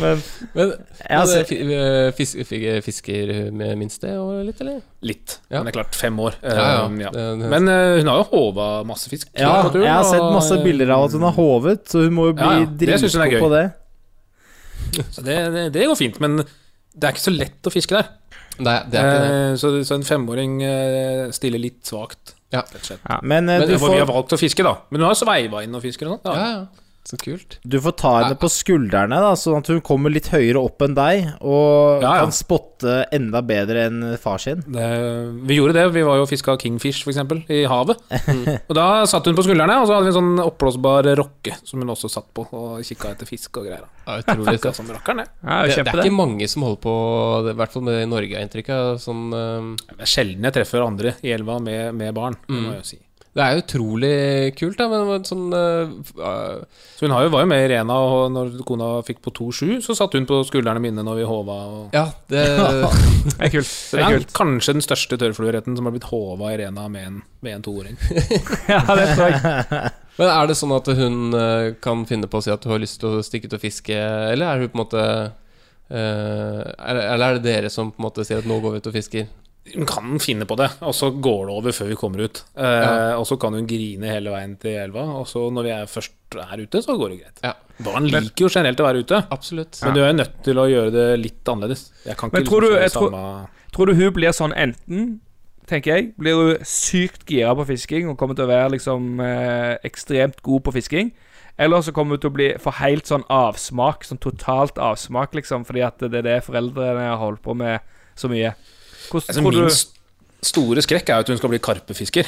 A: men,
E: Ja,
A: men,
E: altså-
A: eh, fi- eh, fis- fi- fisker med minste og litt, eller?
G: litt.
A: Ja.
G: Men det er klart, fem år. Eh, ja.
A: Det- det-
G: Men eh, hun har jo håva masse fisk.
E: Ja,
G: på turen,
E: jeg har sett
G: og,
E: masse
G: eh,
E: bilder av at hun har hovet, så hun må jo bli
G: Ja, ja, det synes hun er
E: dritgod
G: gøy.
E: på det.
G: Så det, det, det går fint, men det er ikke så lett å fiske der.
A: Nei, det er ikke det.
G: Eh, Så, så en femåring eh, stiller litt svakt.
A: Ja.
G: rett og slett.
E: Men, eh,
G: Det
A: Men
E: du,
G: er for vi har
E: får,
G: valgt å fiske, da. Men hun har sveiva inn og fisker og sånn.
A: Ja,
G: Ja.
A: ja. Så kult.
E: du får ta henne på skuldrene, da, sånn at hun kommer litt høyere opp enn deg, og
G: Ja, ja.
E: kan spotte enda bedre enn far sin.
G: Det, vi gjorde det. Vi var jo og fiska kingfish, for eksempel, i havet. Og da satt hun på skuldrene, og så hadde vi en sånn oppblåsbar rokke som hun også satt på og kikka etter fisk og greier.
A: Ja, utrolig
G: Fikka
A: fett.
G: som rakkeren, det.
F: Ja,
A: Det, det er
F: kjempe det.
A: ikke mange som holder på, det- i hvert fall med det i Norge, har jeg inntrykk av. Sånn, eh, Mm.
G: Det er sjelden jeg treffer andre i elva med, med barn, det må jeg jo si.
A: Det Det er utrolig kult, da, men sånn eh,
G: Så hun har jo, var jo med i Rena, og når kona fikk på 2-7, så satt hun på skuldrene mine når vi håva. Og
A: Ja, det
F: Det er kult.
G: så
F: Det er kult.
G: kanskje den største tørrfluoretten som har blitt håva i Rena med en, med en toåring.
F: Ja, det tror jeg.
A: Men er det sånn at hun eh, kan finne på å si at du har lyst til å stikke ut og fiske, eller er hun på en måte eh, eller, eller er det dere som på en måte sier at 'nå går vi ut og fisker'?
G: Hun kan finne på det, og så går det over før vi kommer ut. Eh, Og så kan hun grine hele veien til elva, og så når vi er først er ute, så går det greit.
A: Ja.
G: Barn liker jo generelt å være ute,
A: Absolutt.
G: men du er jo nødt til å gjøre det litt annerledes. Jeg kan
F: Men
G: ikke
F: tror du-
G: liksom
F: jeg
G: kjøre
F: tror-
G: samme
F: Tror du hun blir sånn enten Tenker jeg Blir hun sykt gira på fisking og kommer til å være liksom eh, ekstremt god på fisking? Eller så kommer hun til å bli få helt sånn avsmak, sånn totalt avsmak, liksom, fordi at det er det foreldrene har holdt på med så mye. Hvordan
G: altså,
F: tror
G: Min
F: du
G: st- store skrekk er jo at hun skal bli karpefisker.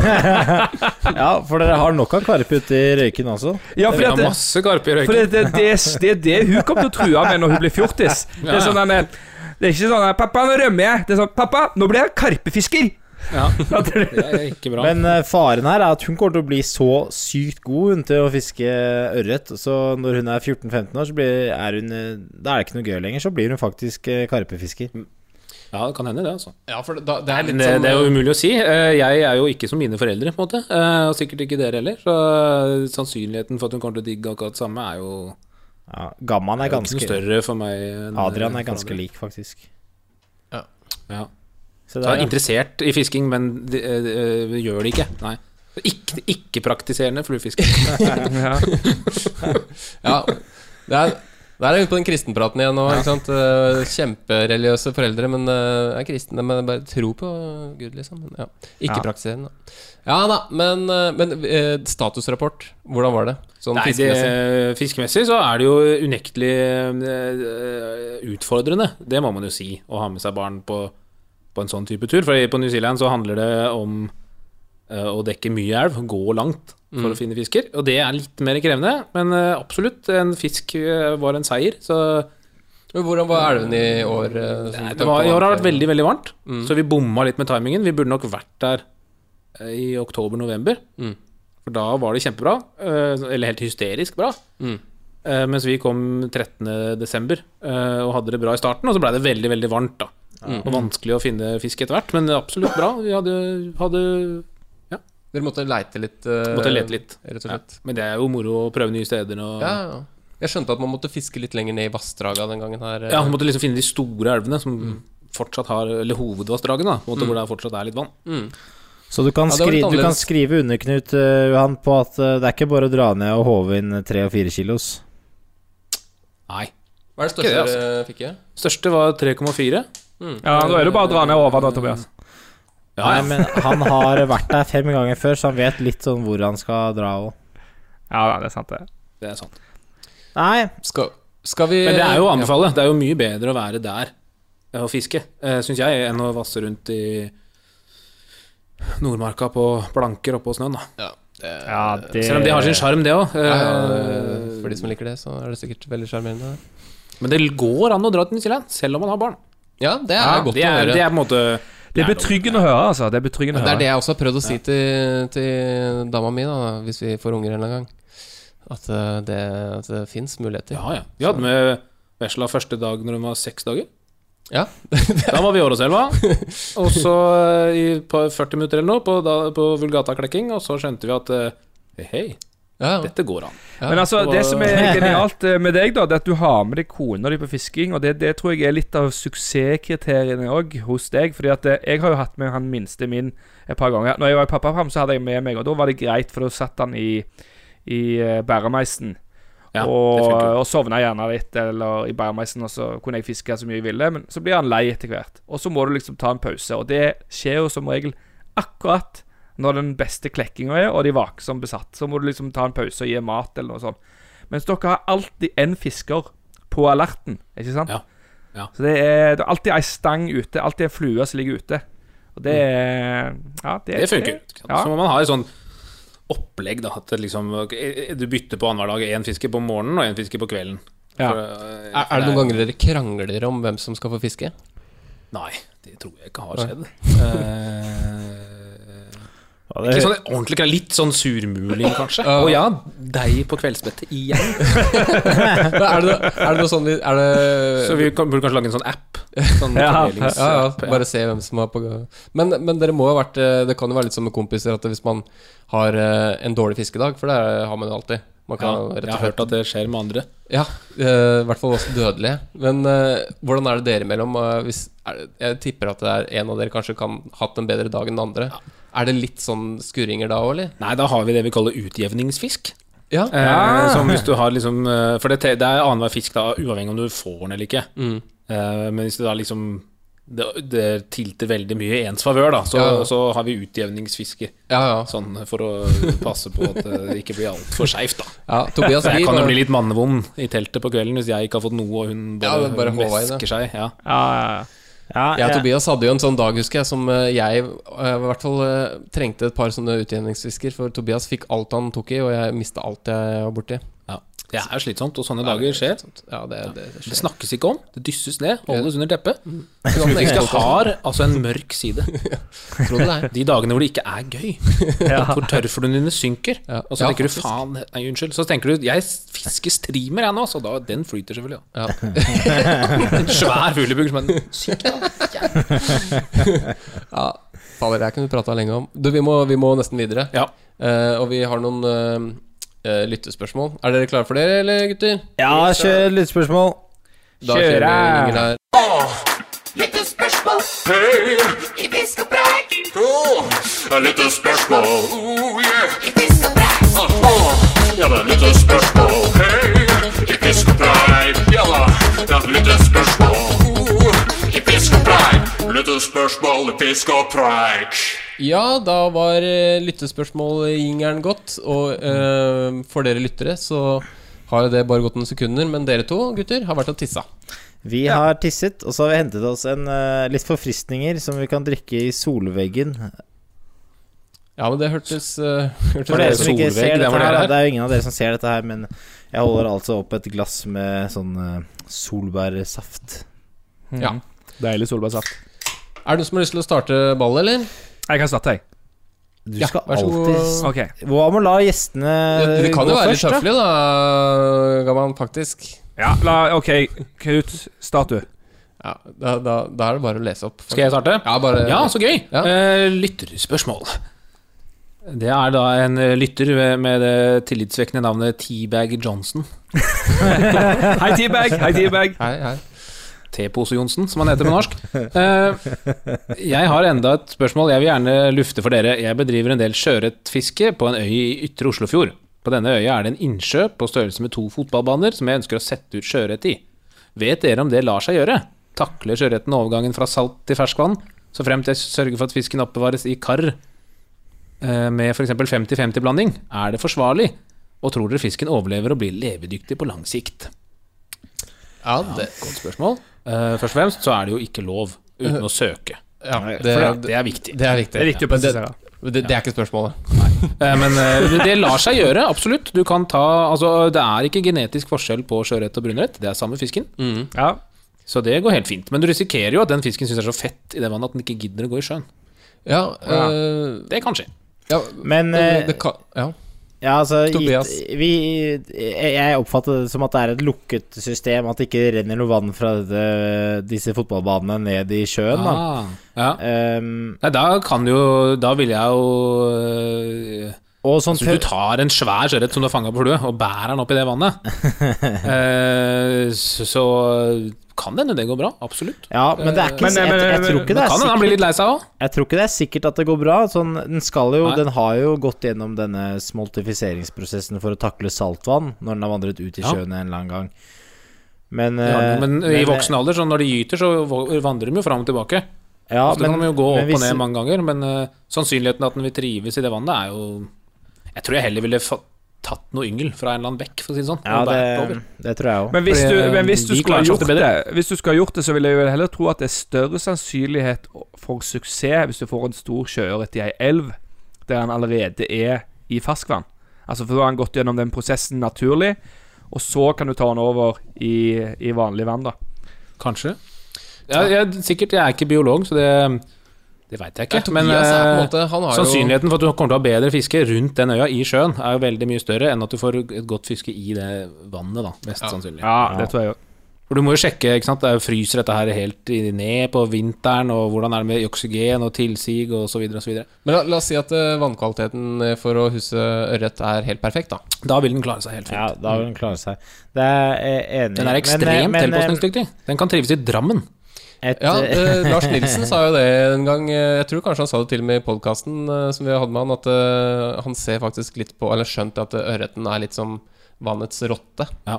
E: Ja, for dere har nok av karpe ute i Røyken også.
F: Ja,
G: Vi
F: fordi
G: har
F: at det,
G: masse karpe i
F: For
G: røyken.
F: det, det, det, er- det er det hun kommer til å true med når hun blir fjortis. Det er sånn der, det er ikke sånn der, 'Pappa, nå rømmer jeg.' Det er sånn 'Pappa, nå blir jeg karpefisker.'
G: Ja,
F: At det-
G: det er ikke bra.
E: Men eh, faren her er at hun kommer til å bli så sykt god hun, til å fiske ørret. Så når hun er 14-15 år, så blir, er hun, eh, da er det ikke noe gøy lenger. Så blir hun faktisk eh, karpefisker.
G: Ja, det kan hende, det, altså.
A: Ja, for da, det er
G: Men
A: litt
G: det,
A: sånn
G: det er jo umulig å si. Eh, Jeg er jo ikke som mine foreldre, på en måte. eh, Og sikkert ikke dere heller. Så eh, sannsynligheten for at hun kommer til å digge akkurat det samme, er jo
E: Ja, Gammaen
G: er jo
E: er
G: ikke noe
E: ganske
G: større for meg. enn-
E: Adrian er
G: for
E: ganske lik, faktisk.
A: Ja.
G: Ja.
E: Så
G: Så han
E: det
G: er
E: er,
G: interessert i fisking, men de, eh, eh, gjør det ikke. Nei. Ikke- Ikke-praktiserende fluefisker.
F: Ja.
A: Ja, det er, der er vi på den kristenpraten igjen nå. Ikke sant? Eh, Kjempereligiøse foreldre, men eh, er kristne. Men bare tror på Gud, liksom. Men, ja. Ikke
F: Ja.
A: praktiserende. Ja da, men, eh, men eh, statusrapport, hvordan var det? Sånn
G: Nei,
A: fiskemessig?
G: det, fiskemessig så er det jo unektelig eh, utfordrende. Det må man jo si, å ha med seg barn på, på en sånn type tur. For på New Zealand så handler det om eh, å dekke mye elv, gå langt for
A: Mm.
G: å finne fisker. Og det er litt mer krevende, men eh, absolutt. En fisk eh, var en seier, så
A: Men Hvordan var elven i år? eh, sånn
G: Nei, det
A: med tanke
G: var,
A: på
G: I år har det
A: at-
G: vært veldig veldig varmt, så vi bomma litt med timingen. Vi burde nok vært der eh, i oktober-november.
A: Mm.
G: For da var det kjempebra. eh, Eller helt hysterisk bra.
A: Mm.
G: Eh, Mens vi kom 13.12. og hadde det bra i starten, og så blei det veldig veldig varmt. da Og vanskelig å finne fisk etter hvert, men absolutt bra. Vi hadde, hadde
A: Dere måtte leite litt? eh,
G: måtte lete litt.
A: Rett og
G: Ja.
A: slett.
G: Men det er jo moro å prøve nye steder. Og,
A: Ja. ja, Jeg skjønte at man måtte fiske litt lenger ned i vassdraga den gangen her. eh.
G: Ja, man måtte liksom finne de store elvene som fortsatt har Eller hovedvassdragene, da, på en måte, hvor det fortsatt er litt vann.
A: Mm.
E: så du kan,
A: Ja, det var
E: skri,
A: litt
E: du kan
A: annerledes.
E: skrive under, Knut, eh, Johan, på at eh, det er ikke bare å dra ned og håve inn tre og fire kilos.
G: Nei.
A: Hva er
G: Ikke
A: det største
G: det, altså.
A: dere fikk i?
G: Største var 3,4.
F: ja, nå er det bare å dra ned over, da, Tobias.
G: Ja, ja.
E: Nei, men han har vært der fem ganger før, så han vet litt sånn hvor han skal dra og
F: Ja, det er sant, det.
G: Det er sant.
E: Nei,
A: Skal, skal vi
G: Men det er jo å anbefale. Det er jo mye bedre å være der eh, og fiske, syns jeg, enn å vasse rundt i Nordmarka på planker oppå snøen, da.
A: Ja, det,
F: Ja, det
G: Eh, Selv om det har sin sjarm, det eh, òg.
A: For de som liker det, så er det sikkert veldig sjarmerende.
G: Men det går an å dra til New Zealand, selv om man har barn.
A: Ja, det er godt
G: det, er,
A: å høre.
G: det er på en måte
F: Det er betryggende å høre, altså. Det er betryggende å
A: det er det
F: høre.
A: jeg også har prøvd å si til, til dama mi, da, hvis vi får unger en eller annen gang. At eh, det, at det fins muligheter.
G: Ja, ja. Vi hadde med vesla første dag når hun var seks dager.
A: Ja.
G: Da var vi i Åråselva. Og så eh, i på 40 minutter eller noe på, da, på Vulgata-klekking, og så skjønte vi at eh, hei, hei,
A: ja, ja.
G: dette går an.
F: Men altså, det som er genialt eh, med deg, da, det er at du har med deg kona di på fisking. Og det, det tror jeg er litt av suksesskriteriene òg hos deg. Fordi at eh, jeg har jo hatt med han minste min et par ganger. Når jeg var i pappaperm, så hadde jeg med meg, og da var det greit, for da satt han i, i eh, bæremeisen.
G: Ja, det
F: og, eh,
G: funker jo.
F: og sovna gjerne litt eller i bæremeisen, og så kunne jeg fiske så mye jeg ville. Men så blir han lei etter hvert. Og så må du liksom ta en pause. Og det skjer jo som regel akkurat når den beste klekkinga er, og de vaker som besatt. Så må du liksom ta en pause og gi mat eller noe sånt. Mens dere har alltid en fisker på alerten, ikke sant?
G: Ja. Ja.
F: Så det er, det er alltid ei stang ute, alltid ei flue som ligger ute. Og det er Ja,
G: Mm.
F: det,
G: Det funker.
F: Ja.
G: Så må man ha et sånn opplegg, da. At det liksom, ok, du bytter på annenhver dag. Én fisker på morgenen og én fisker på kvelden.
F: Ja.
G: For, eh,
A: Er, er det noen ganger dere krangler om hvem som skal få fiske?
G: Nei, det tror jeg ikke har skjedd. Eh,
E: Ja,
G: Ikke
E: det,
G: sånn ordentlig krem, litt sånn surmuling, kanskje. Å ja, deg på kveldsbettet igjen.
A: Men Er det, er det noe sånn vi- Er det
G: Så vi kan- burde kanskje lage en sånn app. Sånn
F: Ja.
G: fordelings-
A: ja, ja,
G: app, ja.
A: bare se hvem som har på men, men dere må jo ha vært eh, Det kan jo være litt som med kompiser at hvis man har eh, en dårlig fiskedag, for det har man jo alltid Man
G: Ja,
A: kan jo rett
G: jeg
A: og
G: har
A: slett
G: hørt at det skjer med andre.
A: Ja, eh, i hvert fall oss dødelige. Men eh, hvordan er det dere imellom? eh, hvis, er det, jeg tipper at det er en av dere kanskje kan hatt en bedre dag enn den andre. Er det litt sånn skurringer da òg, eller?
G: Nei, da har vi det vi kaller utjevningsfisk.
A: Ja.
G: Eh, Som hvis du har liksom eh, For det, te- det er annenhver fisk, da, uavhengig om du får den eller ikke.
A: Mm.
G: Eh, men hvis det da liksom det, det tilter veldig mye i ens favør, da, så,
A: Ja.
G: så har vi utjevningsfiske.
A: Ja, ja.
G: Sånn for å passe på at det ikke blir altfor skeivt, da.
A: ja Tobias
G: Jeg
A: vi
G: kan jo
A: bare-
G: bli litt mannevond i teltet på kvelden hvis jeg ikke har fått noe, og hun bare,
A: Ja, det er bare håva i det.
G: mesker seg. Ja.
F: Ja, ja, ja.
E: ja,
A: Jeg og
E: jeg,
A: Tobias hadde jo en sånn dag, husker jeg, som eh, jeg eh, i hvert fall eh, trengte et par sånne utjevningsfisker, for Tobias fikk alt han tok i, og jeg mista alt jeg var borti.
G: Ja. Det er slitsomt, og sånne dager skjer.
A: Ja, det, det, det
G: Det
A: skjer.
G: snakkes ikke om, det dysses ned, holdes under teppet.
A: Mm.
G: sånn Utjevningsfiske har altså en mørk side.
A: Tror du det er?
G: De dagene hvor det ikke er gøy, hvor tørrfluene dine synker,
A: Ja.
G: og så
A: Ja,
G: tenker du
A: faktisk.
G: faen, nei, unnskyld, så tenker du jeg fisker streamer jeg nå, så da, den flyter selvfølgelig. Ja.
A: Ja.
G: En svær fuglebugg som en syk
A: ja. Fader, jeg kunne prata lenge om. Du, vi må, vi må nesten videre.
G: Ja.
A: Eh, og vi har noen eh, eh, lyttespørsmål. Er dere klare for det, eller gutter?
E: ja, kjør lyttespørsmål.
A: Da kjører vi
F: Kjøre!
A: jingle her.
D: Lyttespørsmål. Oh, yeah. Åh, Ja da, lyttespørsmål. Hei, i fiskepreik. Ja da, det er lyttespørsmål. Oh, I fiskepreik. Lyttespørsmål i fiskepreik.
A: Ja, da var uh, lyttespørsmål-jingeren gått. Og eh, for dere lyttere så har jo det bare gått noen sekunder, men dere to gutter har vært og tissa.
E: Vi har tisset, og så har vi hentet oss en, eh, litt forfriskninger som vi kan drikke i solveggen.
A: Ja, men det hørtes, eh, hørtes
E: For dere som ikke
G: solvegg,
E: ser
G: det
E: dette
G: var
E: her,
G: dere
E: da,
G: her.
E: det er jo ingen av dere som ser dette her, men jeg holder altså opp et glass med sånn eh, solbærsaft.
A: ja.
F: Deilig solbærsaft.
A: Er det noen som har lyst til å starte ballet, eller?
F: Jeg kan starte, jeg.
E: Du
A: Ja,
E: skal
A: vær så god.
E: alltid
G: Sånn.
E: s-
F: Ok.
E: Hva med å la gjestene
A: Det, det kan
E: Eh, gå
A: jo være litt
E: først, da?
A: høflig, da, Gaman, faktisk.
F: Ja, la, ok, Knut, start du.
A: Ja, da, da, da er det bare å lese opp.
G: Skal jeg starte?
A: Ja, bare
G: Ja, så gøy!
A: Ja.
G: Eh, lytterspørsmål. Det er da en eh, lytter ved- med det tillitsvekkende navnet Teabag Johnson.
F: Hei, T-bag. Hei, T-bag.
A: Hei, hei.
G: Tepose Johnsen, som han heter på norsk. Eh, jeg har enda et spørsmål jeg vil gjerne lufte for dere. Jeg bedriver en del sjøørretfiske på en øy i ytre Oslofjord. På denne øya er det en innsjø på størrelse med to fotballbaner som jeg ønsker å sette ut sjøørret i. Vet dere om det lar seg gjøre? Takler sjøørreten overgangen fra salt til ferskvann? Så fremt jeg sørger for at fisken oppbevares i kar eh, med f.eks. 50-50-blanding, er det forsvarlig? Og tror dere fisken overlever og blir levedyktig på lang sikt?
A: Ja, det,
G: Godt spørsmål. Eh, først og fremst så er det jo ikke lov uten å søke.
A: ja, det,
G: For det
A: det,
G: er viktig.
A: det er viktig.
F: Det er viktig å
A: Men
F: presisere.
A: Det, det, det er ikke spørsmålet.
G: Eh, men eh, det lar seg gjøre, absolutt. Du kan ta Altså, det er ikke genetisk forskjell på sjøørret og brunørret. Det er samme fisken,
F: Ja.
G: så det går helt fint. Men du risikerer jo at den fisken syns er så fett i det vannet at den ikke gidder å gå i sjøen.
A: Ja,
F: Ja.
A: øh,
G: Det kan skje.
A: ja
E: Men
A: det,
E: eh,
A: det kan, ja.
E: ja, altså
A: Tobias.
E: gitt- vi, jeg- Jeg oppfatter det som at det er et lukket system, at det ikke renner noe vann fra dette, disse fotballbanene ned i sjøen.
G: Ah.
E: Da.
G: Ja.
E: Ehm,
G: Nei, da kan jo Da ville jeg jo eh,
E: og sånn
G: Så hvis du tar en svær sjøørret som du har fanga på flue, og bærer den opp i det vannet, eh, så, så kan det hende det går bra. Absolutt.
E: Ja, men det er ikke
F: Men-
E: jeg, jeg,
F: men-
E: tror ikke det
G: Men kan hende
E: er
G: han
E: sikkert
G: blir litt lei seg òg.
E: Jeg tror ikke det er sikkert at det går bra. Sånn, den, skal jo,
G: Nei.
E: den har jo gått gjennom denne smoltifiseringsprosessen for å takle saltvann når den har vandret ut i
G: Ja.
E: sjøen en eller annen gang. Men,
G: Ja,
E: eh,
G: men i voksen alder, så når de gyter, så vo- vandrer de jo fram og tilbake.
E: ja,
G: så det kan de jo gå
E: men
G: opp
E: hvis-
G: og ned mange ganger, men eh, sannsynligheten at den vil trives i det vannet, er jo Jeg tror jeg heller ville fa tatt noe yngel fra en eller annen bekk, for å si det sånn.
E: Ja,
G: og bært
E: det,
G: over.
E: det tror jeg òg.
F: Men hvis
G: Fordi,
F: du, men
G: eh,
F: hvis du
G: de
F: skulle ha
G: klarer seg
F: gjort
G: ofte
F: det,
G: bedre.
F: Hvis du skulle ha gjort det, så vil jeg vel heller tro at det er større sannsynlighet for suksess hvis du får en stor sjøørret i ei elv der han allerede er i ferskvann. Altså For da har han gått gjennom den prosessen naturlig, og så kan du ta han over i, i vanlig vann, da.
G: Kanskje. Ja, jeg, sikkert. Jeg er ikke biolog, så det Det veit jeg
A: Ja,
G: ikke.
A: Tobias
G: Men
A: er på en
G: eh,
A: måte Han har jo
G: sannsynligheten for at du kommer til å ha bedre fiske rundt den øya i sjøen, er jo veldig mye større enn at du får et godt fiske i det vannet, da. Mest sannsynlig.
F: Ja, det tror jeg òg.
G: For du må jo sjekke, ikke sant. Det fryser dette her helt i- ned på vinteren, og hvordan er det med oksygen og tilsig og så videre og så videre.
A: Men la, la oss si at eh, vannkvaliteten eh, for å husse ørret er helt perfekt, da.
G: Da vil den klare seg helt fint.
E: Ja, da vil den klare seg. Det er jeg enig. i.
G: Den er ekstremt
E: Men, eh, men, eh,
G: tilpasningsdyktig. Den kan trives i Drammen.
E: et-
A: Ja, eh, Lars Nilsen sa jo det en gang. eh, Jeg tror kanskje han sa det til og med i podkasten som vi hadde med han, at eh, han ser faktisk litt på Eller skjønte at eh, ørreten er litt som vannets rotte.
G: Ja.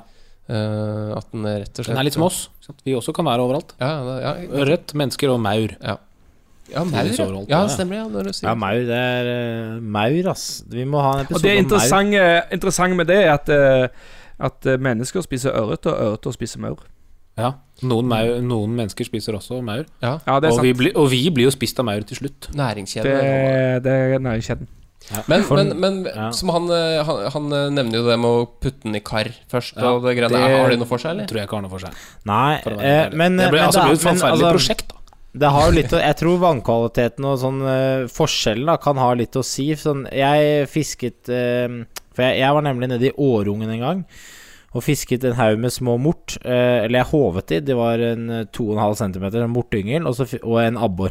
A: Eh, at den rett og slett
G: Den er litt som oss. ikke sant? Vi også kan være overalt.
A: Ja, det- ja,
G: Ørret, mennesker og maur.
A: ja, maur, ja.
G: overalt,
A: ja,
G: ja.
A: stemmer det. Ja, når du sier
E: Ja, maur. Det er eh, maur, ass. Vi må ha en
F: Og
E: episode
F: det
E: om maur.
F: interessante, interessante med det er at, eh, at eh, mennesker spiser ørret, og ørreter spiser maur.
G: Ja. Noen, maur, noen mennesker spiser også maur.
A: ja.
F: Ja, det er
G: Og vi,
F: sant.
G: blir, og vi blir jo spist av maur til slutt.
A: Næringskjede.
F: Det,
A: og-
F: det er næringskjeden.
A: Men, men, men
E: ja.
A: som han, eh, han, han eh, nevner jo det med å putte den i kar først.
G: Ja,
A: og det greiene
G: det-
A: der. Har det noe for seg, eller?
G: Tror jeg ikke har noe for seg.
E: Nei,
G: For å være
E: eh,
G: helt ærlig.
E: men
G: det blir,
E: men
G: altså,
E: da-
G: det blir et
E: men,
G: forferdelig
E: altså,
G: prosjekt, da.
E: Det har jo litt å Jeg tror vannkvaliteten og sånn eh, forskjellen da kan ha litt å si. Sånn, jeg fisket eh, For jeg, jeg var nemlig nede i Årungen en gang og fisket en haug med små mort. eh, eller jeg håvet de. De var en eh, 2,5 cm, en mortyngel og, så fi- og en abbor.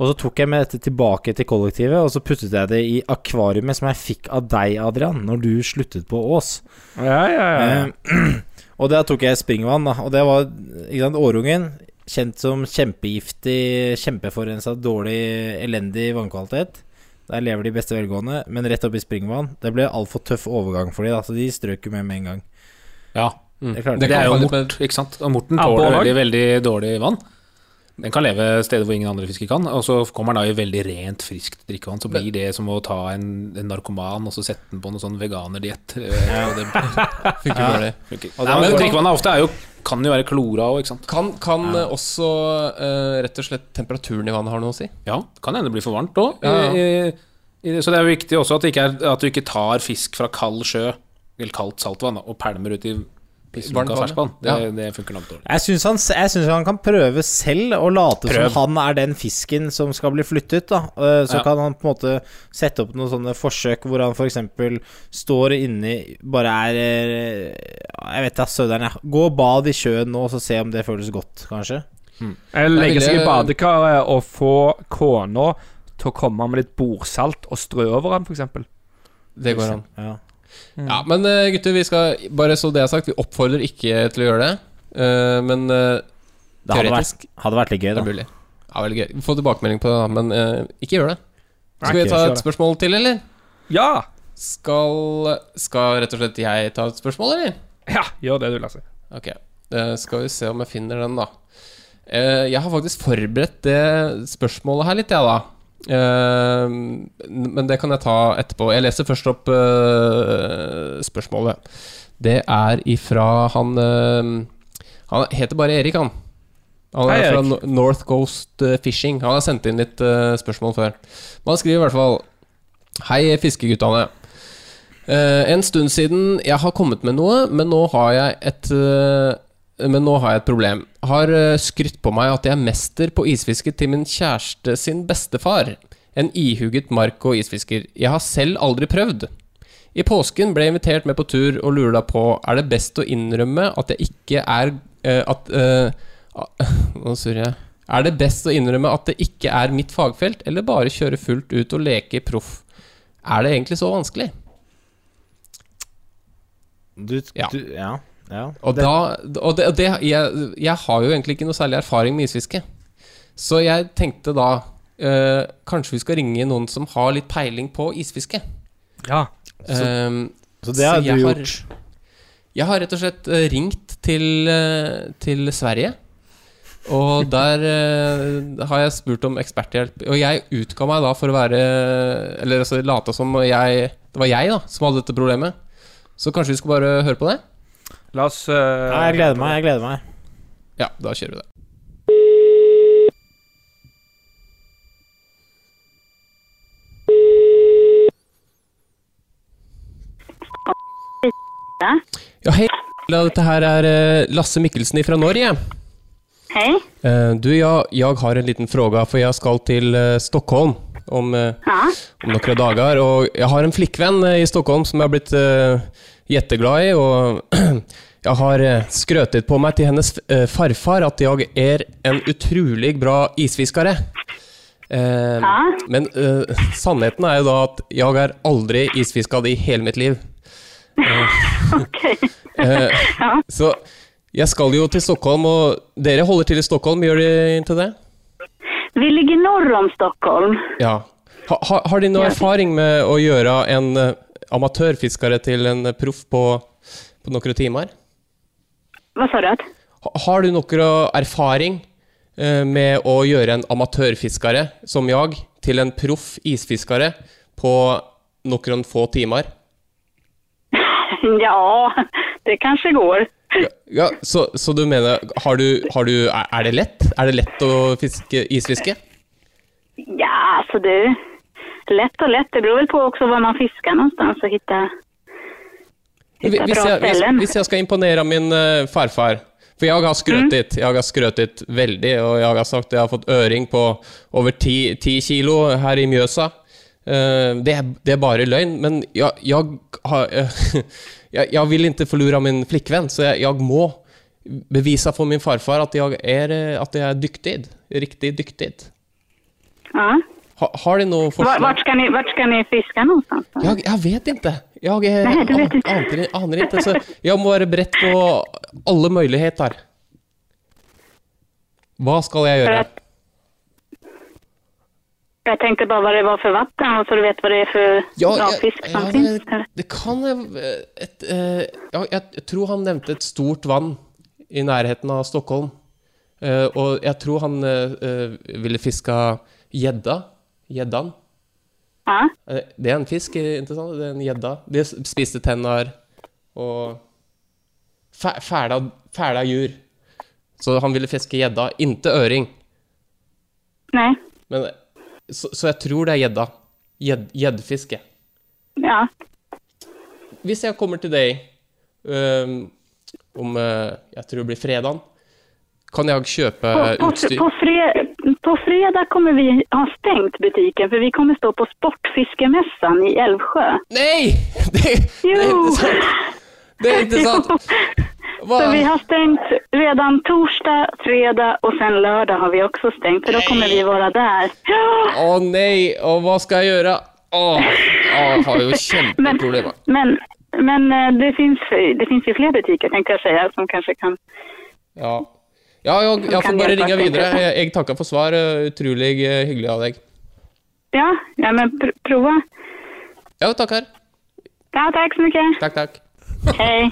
E: Og så tok jeg med dette tilbake til kollektivet, og så puttet jeg det i akvariet som jeg fikk av deg, Adrian, når du sluttet på Ås.
F: Ja, ja, ja.
E: Eh, og der tok jeg springvann, da. Og det var ikke sant, årungen. Kjent som kjempegiftig, kjempeforurensa, dårlig, elendig vannkvalitet. Der lever de beste velgående, men rett opp i springvann. Det ble altfor tøff overgang for de, da, så de strøk jo med med en gang.
G: Ja.
E: Det
G: Mm.
E: klarte
A: Det
G: Det
A: kan
G: er jo
A: falle litt
G: mort, ikke sant. Og morten
F: Ja, på
G: tåler
F: lag.
G: veldig, veldig dårlig vann. Den kan leve steder hvor ingen andre fisker kan, og så kommer den da i veldig rent, friskt drikkevann. Så blir det som å ta en, en narkoman og så sette den på noe sånn veganerdiett. eh, og det-
A: Funker dårlig.
G: Nei, men
A: men-
G: Drikkevannet ofte er jo, kan jo være klora òg, ikke sant.
A: Kan, kan eh, også eh, rett og slett temperaturen i vannet har noe å si?
G: Ja, kan hende det blir for varmt òg.
A: Ja,
G: Så det er jo viktig også at, det ikke er, at du ikke tar fisk fra kald sjø eller kaldt saltvann da, og pælmer ut i
A: Varmt
G: pisslunka
A: vann,
G: ferskvann. Det,
A: ja.
G: det funker nok dårlig.
E: Jeg syns han, jeg synes han kan prøve selv å late
G: Prøv.
E: som han er den fisken som skal bli flyttet. Da. Eh, Så
G: Ja.
E: kan han på en måte sette opp noen sånne forsøk hvor han f.eks. står inni Bare er eh, Jeg vet da søderen, jeg. Gå og bad i sjøen nå, så se om det føles godt, kanskje.
F: Eller
A: Jeg
F: legge seg i
A: ville-
F: badekaret og få kona til å komme med litt bordsalt og strø over den, f.eks.
A: Det går an.
E: Ja.
A: Ja, Men eh, gutter, vi skal bare så det er sagt, vi oppfordrer ikke til å gjøre det. Eh, men eh,
E: Det hadde vært,
A: Teoretisk.
E: hadde vært litt gøy,
A: det
E: da.
A: er mulig. Ja, veldig gøy. Vi får tilbakemelding på det, da, men eh, ikke gjør det. Skal
F: Nei,
A: vi ta
F: ikke gjør
A: et spørsmål til, eller?
F: Ja!
A: Skal, skal rett og slett jeg ta et spørsmål, eller?
F: ja! Gjør det, du, Lasse.
A: Ok, eh, skal vi se om jeg finner den da Eh, Jeg har faktisk forberedt det spørsmålet her litt, jeg da Eh, Men det kan jeg ta etterpå Jeg leser først opp eh, spørsmålet Det er ifra han eh, Han heter bare Erik han han er
F: Hei,
A: fra
F: Erik.
A: Nor- North Coast eh, Fishing Han har sendt inn litt eh, spørsmål før Men han skriver i hvert fall Hei fiskeguttene Eh, en stund siden jeg har kommet med noe, men nå har jeg et eh, Men nå har jeg et problem. Har eh, skrytt på meg at jeg er mester på isfiske til min kjæreste sin bestefar. En ihuget mark- og isfisker. Jeg har selv aldri prøvd. I påsken ble jeg invitert med på tur og lurer da på Er det best å innrømme at jeg ikke er eh, At eh, a- Nå surrer jeg. Er det best å innrømme at det ikke er mitt fagfelt, eller bare kjøre fullt ut og leke proff? Er det egentlig så vanskelig?
E: Du,
A: Ja.
E: du, ja. ja.
A: Og, da, og det, og det jeg, jeg har jo egentlig ikke noe særlig erfaring med isfiske. Så jeg tenkte da eh, Kanskje vi skal ringe noen som har litt peiling på isfiske.
F: Ja.
A: Ehm,
E: Så det har du
A: jeg
E: gjort.
A: Jeg har rett og slett eh, ringt til, eh, til Sverige. Og der eh, har jeg spurt om eksperthjelp. Og jeg utga meg da for å være Eller altså lata som jeg Det var jeg da som hadde dette problemet. Så kanskje vi skal bare høre på det?
F: La oss eh,
E: Ja, jeg gleder meg, jeg gleder meg.
A: Ja, da kjører vi det. Ja, hei. Dette her er eh, Lasse Mikkelsen fra Norge.
H: Hej.
A: Eh, Du, jag, jag har en liten fråga, för jag ska till eh, Stockholm om, eh,
H: Ja.
A: om några dagar. Och jag har en flickvän eh, i Stockholm som jag har blivit eh, jätteglad i. Och jag har eh, skrötit på mig till hennes eh, farfar att jag är en utrolig bra isfiskare. Eh, Men eh, sannheten er jo da at jeg har aldri isfisket i hele mitt liv. Eh,
H: Okej.
A: Så jeg skal jo til Stockholm, og dere holder til i Stockholm, gjør dere ikke det?
H: Vi ligger norr om Stockholm.
A: Ja. Ha, ha, har de noe erfaring med å gjøre en eh, amatørfiskere til en eh, proff på, på noen timer?
H: Vad sa du? att-
A: Ha, har du noe erfaring eh, med å gjøre en amatørfiskere som jeg til en proff isfiskere på noen få timer?
H: Ja, det kanske går.
A: Ja, så, så du mener har du, har du, Er er det lett? Er det lett å fiske, isfiske?
H: Ja, alltså det... Lätt och lätt. Det beror väl på också var man fiskar någonstans och hitta, hitta
A: Hvis
H: bra
A: jeg, hvis,
H: ställen.
A: hvis jeg skal imponere min eh, farfar For jeg har skrøtet Jeg har skrøtet veldig Og jeg har sagt at jeg har fått øring på over 10 10 kilo her i Mjøsa Eh, det, er, det er bare løgn Men jeg, jeg, har, eh, jeg, jeg vil ikke forlure min flikkvenn Så jeg, jeg må bevise for min farfar At jeg er, eh, at jeg er dyktig Riktig dyktig
H: Ja.
A: ha, Har de noe
H: Var, vart,
A: forslag?
H: ska ni, vart ska ni fiska någonstans? då?
A: Jeg, jeg vet ikke. Jeg eh,
H: Nei, du vet
A: an-
H: ikke.
A: aner, aner ikke, så jeg må være beredt på alle muligheter. Hva skal jeg
H: För
A: gjøre?
H: att, jag tänkte bara vad det var för vatten och så du vet vad det är för
A: Ja,
H: bra
A: jeg-
H: fisk som
A: ja,
H: finns.
A: det, det kan jeg- et, eh, ja, Jeg tror han nevnte et stort vann i nærheten av Stockholm. Eh, og jeg tror han eh, eh, ville fiska gjedda. Gjeddan.
H: Ja.
A: Eh, Det er en fisk, eh, ikke sant? Det er en gjedda. De s- spiste tenner og fæ- fæla, fæla jur. Så han ville fiske gjedda, ikke øring.
H: Nej.
A: Men, så, så jeg tror det er gjedda. Gjed- Gjeddfiske.
H: Ja.
A: Hvis jeg kommer til deg øhm, om eh, jeg tror det blir fredag, kan jeg kjøpe
H: På, på,
A: Eh, utstyr?
H: på, fre, på fredag kommer vi ha stängt butiken för vi kommer stå på Sportfiskemässan i Älvsjö.
A: Nei! Det, det er ikke sant! Det
H: Jo.
A: er ikke sant! Hva?
H: Så vi har stängt redan torsdag, fredag och sen lördag har vi också stängt för då kommer vi vara där. Ja,
A: Å nei, og hva skal jeg gjøre? Å, jeg har jo
H: men,
A: kjempeproblemer.
H: men, men eh, det, finns, det finns ju fler butiker tänkte jag säga som kanske kan...
A: Ja, ja jeg, jeg får bare ringe videre. Jeg, jeg takker for svar. eh, Utrolig eh, hyggelig av deg.
H: Ja, ja men pr prova.
A: Ja, takker.
H: Ja, tack så mycket.
A: Takk, takk.
H: Hej.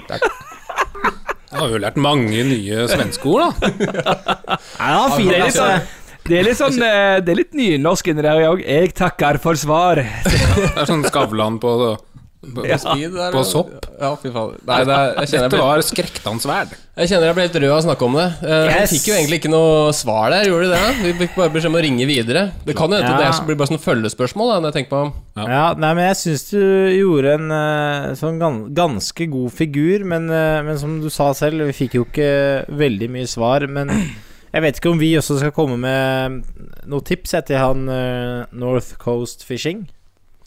G: Da har vi jo lært mange nye svenskord, da.
E: Nei, han
F: Det
E: fin,
F: er litt
E: altså.
F: sånn, det er litt, sånn, eh, det er litt nynorsk inni der òg. Jeg takker for svar.
G: Det er sånn Skavlan på, på, på sopp.
A: Ja, fy faen. Nei, det er, jeg, kjenner jeg,
G: Dette
A: ble,
G: var skrektansverd.
A: jeg kjenner jeg ble helt rød av å snakke om det. Eh, Vi
E: Yes.
A: fikk jo egentlig ikke noe svar der, gjorde de det? Vi fikk bare beskjed om å ringe videre. Det kan jo hende at
E: Ja.
A: det er- blir bare sånn følgespørsmål. Da, når jeg tenker på
E: Ja, nei, men jeg syns du gjorde en eh, sånn gan ganske god figur, men, eh, men som du sa selv, vi fikk jo ikke veldig mye svar. Men jeg vet ikke om vi også skal komme med noen tips jeg, til han eh, North Coast Fishing.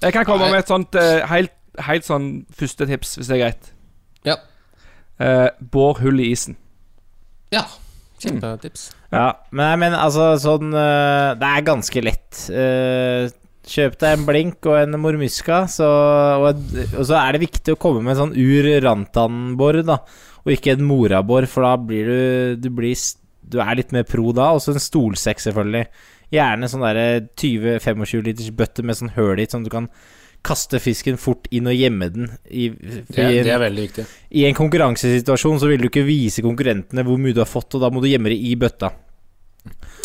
F: Jeg kan komme
A: Nei.
F: med et sånt eh, helt, helt sånn første tips, hvis det er greit.
A: Ja.
F: Eh, bor hull i isen.
A: Ja. Kjempetips.
E: Ja, men, nei, men altså sånn eh, Det er ganske lett. Eh, kjøp deg en blink og en mormuska, så, og, et, og så er det viktig å komme med en sånn ur-rantan-bor, da. Og ikke en morabor, for da blir du Du, blir, s- du er litt mer pro da. Og så en stolsekk, selvfølgelig. Gjerne sånn derre 20-25 liters bøtte med sånn høl i, sånn at du kan kaste fisken fort inn og gjemme den. I,
G: Det, det er veldig viktig.
E: i en konkurransesituasjon så vil du ikke vise konkurrentene hvor mye du har fått, og da må du gjemme det i bøtta.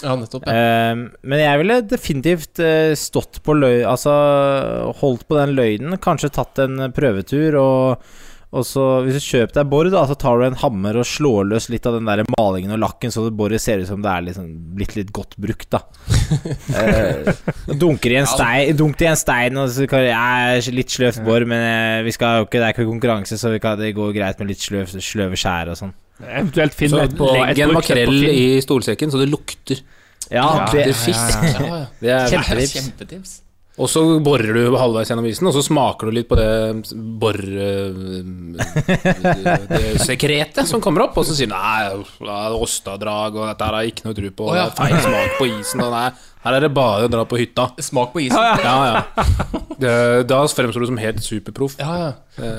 A: Ja, nettopp. Ja.
E: Ehm, men jeg ville definitivt eh, stått på løy... Altså holdt på den løgnen, kanskje tatt en prøvetur, og, og så Hvis du kjøper deg bor, da, så tar du en hammer og slår løs litt av den der malingen og lakken, så det boret ser ut som det er liksom blitt litt godt brukt, da. Eh, dunker i en stein, dunker i en stein og så kan Jeg er litt sløvt bor, men eh, vi skal jo ikke, det er ikke konkurranse, så vi kan, det går greit med litt sløv, sløve skjær og sånn.
F: Eventuelt finn
G: Så
F: et på
G: legg
F: et
G: en
F: brukt et på
G: makrell
F: Finn.
G: i stolsekken, så det lukter.
E: Ja,
G: Det
E: det,
G: er fisk.
A: ja.
G: Det er,
A: Kjempetips.
G: og så borer du halvveis gjennom isen, og så smaker du litt på det bor... øh, Det sekretet som kommer opp, og så sier du nei, uff, det er ostadrag, og dette her har jeg ikke noe tro på,
A: Å,
G: det
A: ja.
G: er feil smak på isen, og nei, her er det bare å dra på hytta.
A: Smak på isen.
G: Ja, ja. Det, da fremstår du som helt superproff.
A: Ja, ja.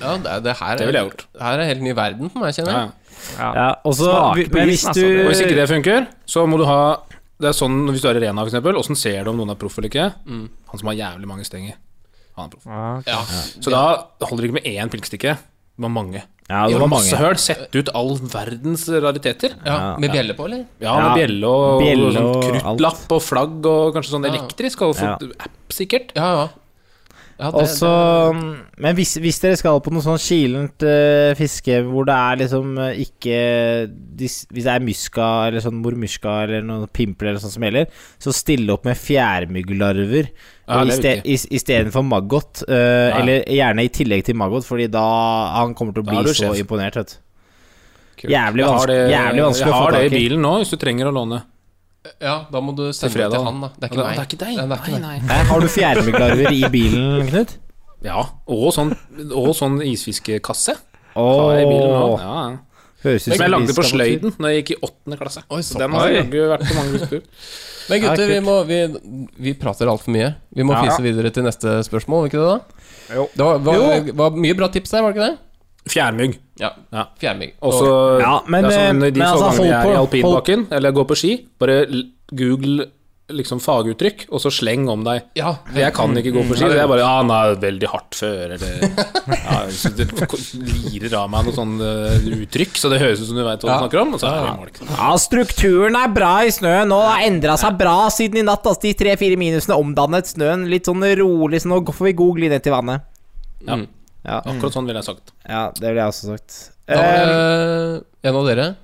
A: ja det, det her
G: Det ville jeg gjort.
A: Her er helt ny verden for meg, kjenner
G: Ja,
A: jeg.
G: ja.
E: ja, og så
F: Smak på
E: men hvis
F: isen,
E: du
F: altså.
G: Og hvis ikke det funker, så må du ha Det er sånn hvis du er i Rena, f.eks. Åssen ser du om noen er proff eller ikke? Han som har jævlig mange stenger, han er proff.
A: Ja.
G: Så da holder det ikke med én pilkestikke. Det var mange.
E: Ja, det
G: det
E: var
G: var
E: mange.
G: masse høl. Sett ut all verdens rariteter.
A: Ja, Med bjelle på, eller?
G: Ja, med
E: Ja,
G: bjelle og,
E: bjelle
G: sånn
E: og
G: kruttlapp og flagg og kanskje sånn
A: Ja.
G: elektrisk. Og fot- app, sikkert.
A: Ja, ja. ja
E: Og så Men hvis, hvis dere skal på noe sånn kilent eh, fiske hvor det er liksom eh, ikke dis- Hvis det er muska eller sånn mormyska eller noen pimpler eller sånt som gjelder, så stille opp med fjærmygglarver
G: Ja,
E: og
G: det er
E: iste-
G: viktig.
E: is- istedenfor maggot. eh, Eller gjerne i tillegg til maggot, fordi da han kommer til å
G: Da er du
E: bli så
G: sjef.
E: imponert, vet du.
G: Kult.
E: Jævlig
G: Jeg har
E: vanske-
G: det-
E: jævlig vanskelig å
G: Jeg
E: få
G: har det i
E: tak i.
G: bilen nå, hvis du trenger å låne.
A: Ja, da må du
G: Til
A: sende det
G: fredag.
A: til han, da. Det er ikke
G: Ja,
A: meg.
G: det er ikke deg.
A: Nei, det er ikke
G: Nei,
A: meg.
E: Hæ, Har du fjærmygglarver i bilen, Knut?
G: Ja, og sånn, og sånn isfiskekasse. Har jeg i bilen nå.
E: Åh,
G: Ja, ja.
E: høres ut
G: Som
E: som
G: jeg lagde
E: vi
G: på
E: skal tur.
G: sløyden når jeg gikk i åttende klasse.
A: Oi,
G: Så den har
F: såpass.
G: jaggu vært på mange huskurer.
A: Men
E: Ja,
A: gutter, vi,
E: kult.
A: må, vi, vi prater altfor mye. Vi må
E: Ja.
A: fise videre til neste spørsmål, ikke det da?
F: Jo.
A: Det var, var, var mye bra tips der, var det ikke det?
G: Fjærmygg.
A: Ja.
G: Ja.
A: Fjærmygg.
G: Også,
E: Ja, men,
G: det er sånn,
E: eh,
G: de
E: men
G: så
E: altså,
G: gangene
E: hold
G: jeg er i
E: på-
G: alpinbakken, eller går på ski, bare l- google liksom faguttrykk, og så sleng om deg.
A: ja.
G: For jeg kan ikke gå på ski, så jeg bare Ja, han er veldig hardt før, eller ja, så Det k- lirer av meg noe sånn eh, uttrykk, så det høres ut som du veit hva du
A: Ja.
G: snakker om. Og så er det molk.
E: Ja, strukturen er bra i snøen, og det har endra seg bra siden i natt. Altså, de tre-fire minusene omdannet snøen litt sånn rolig, så nå får vi god glid ned til vannet.
G: Ja.
E: Mm. Ja,
G: Akkurat sånn ville jeg sagt.
E: ja det ville jeg også sagt.
A: Da var
E: Eh,
A: det en av dere.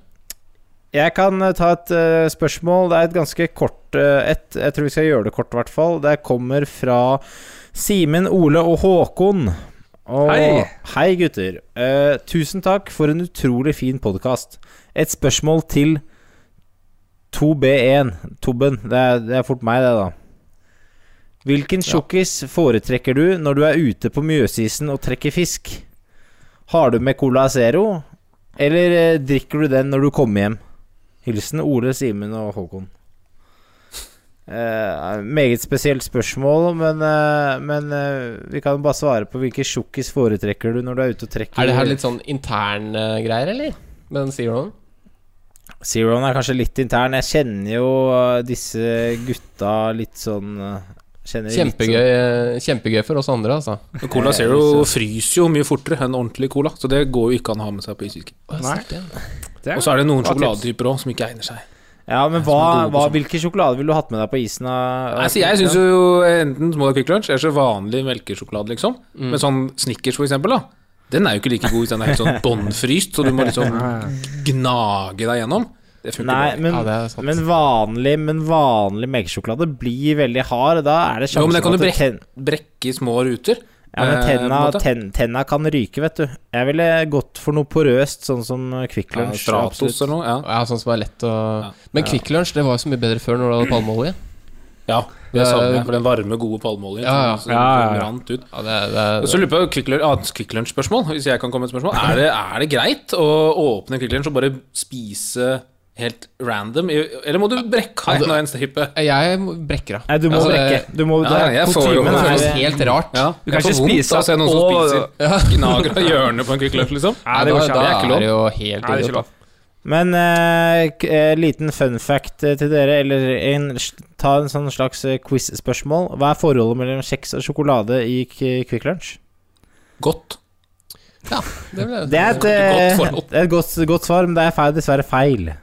E: jeg kan eh, ta et eh, spørsmål. Det er et ganske kort eh, et. Jeg tror vi skal gjøre det kort, i hvert fall. Det kommer fra Simen, Ole og Håkon. Og,
F: Hei.
E: hei, gutter. Eh, tusen takk for en utrolig fin podkast. Et spørsmål til 2B1. Tobben. Det er, det er fort meg, det, da. Hvilken sjokkis foretrekker du når du er ute på Mjøsisen og trekker fisk? Har du med Cola Zero, eller eh, drikker du den når du kommer hjem? Hilsen Ole, Simen og Håkon. Eh, meget spesielt spørsmål, men, eh, men eh, vi kan bare svare på hvilken sjokkis foretrekker du når du er ute og trekker.
A: Er det her litt sånn interne greier, eller? Men sier du noe?
E: Zeroen er kanskje litt intern. Jeg kjenner jo eh, disse gutta litt sånn eh, kjenner de litt
A: Kjempegøy, eh, kjempegøy for oss andre, altså.
G: Men
E: Eh,
G: Cola Zero fryser jo mye fortere enn ordentlig cola, så det går jo ikke an å ha med seg på isfiske.
A: Nei.
G: Og så er det noen
F: Bra tips.
G: sjokoladetyper òg som ikke egner seg.
E: sånn. Ja, men hva,
A: sånn.
E: hva, hvilken sjokolade ville du hatt med deg på isen? av-
G: Nei, så jeg syns jo enten så må du ha Quick Lunch eller så vanlig melkesjokolade, liksom.
E: Mm.
G: Men sånn Snickers, for eksempel, da. Den er jo ikke like god hvis den er helt sånn bånnfryst, så du må liksom gnage deg gjennom. Det funker
E: Nei,
G: bare ikke.
E: men,
A: Ja, det er sant.
E: men vanlig Men vanlig melkesjokolade blir veldig hard. Da er det
G: Jo, men
E: sjansen
G: den kan du
E: at
G: brekke,
E: ten-
G: brekke i små ruter.
E: ja, men
G: eh,
E: tenna,
G: på en måte.
E: ten, tenna kan ryke, vet du. Jeg ville gått for noe porøst, sånn som Kvikk
G: Ja,
E: Lunsj.
G: Stratos
E: absolutt.
G: eller noe. Ja.
A: Ja, sånn som er lett å Men Kvikk Lunsj, det var jo så mye bedre før når du hadde palmeolje.
G: ja, det er
A: Eh,
G: samme for den varme, gode palmeoljen
A: ja, ja.
G: som- som
F: Ja, ja, ja.
G: rant ut.
A: Ja, det, det,
G: Og Så lurer jeg på Quick Lunch- ah, Quick Lunch-spørsmål, hvis jeg kan komme med et spørsmål. Er det, er det greit å åpne Quick Lunch og bare spise helt random? i- Eller må du brekke av en og en stripe?
A: Jeg brekker av.
E: Nei, du må
A: Altså,
E: brekke.
A: jeg-
E: Du må,
G: eh, Ja,
E: det er-
G: jeg får jo-
E: kutymen
A: Det
E: er-
A: føles helt rart.
G: Ja,
F: Du kan
G: jeg får
F: ikke
G: vondt
F: spise
G: av å se noen som
F: og-
G: spiser gnager av hjørnet på en Quick Lunch, liksom.
F: Nei, det går ikke
A: da,
F: an.
A: da
G: Det er ikke
A: er,
G: lov.
A: det jo helt
F: Nei, det er ikke
A: idiot.
F: lov.
E: Men eh, k- eh, liten fun fact eh, til dere, eller en, s- ta en sånn slags eh, quiz-spørsmål. Hva er forholdet mellom kjeks og sjokolade i k Quick Lunch?
G: Godt.
A: Ja, det ble
E: Det er et,
G: Godt
E: eh,
G: forhold.
E: det er et godt, godt svar, men det er feil, dessverre feil.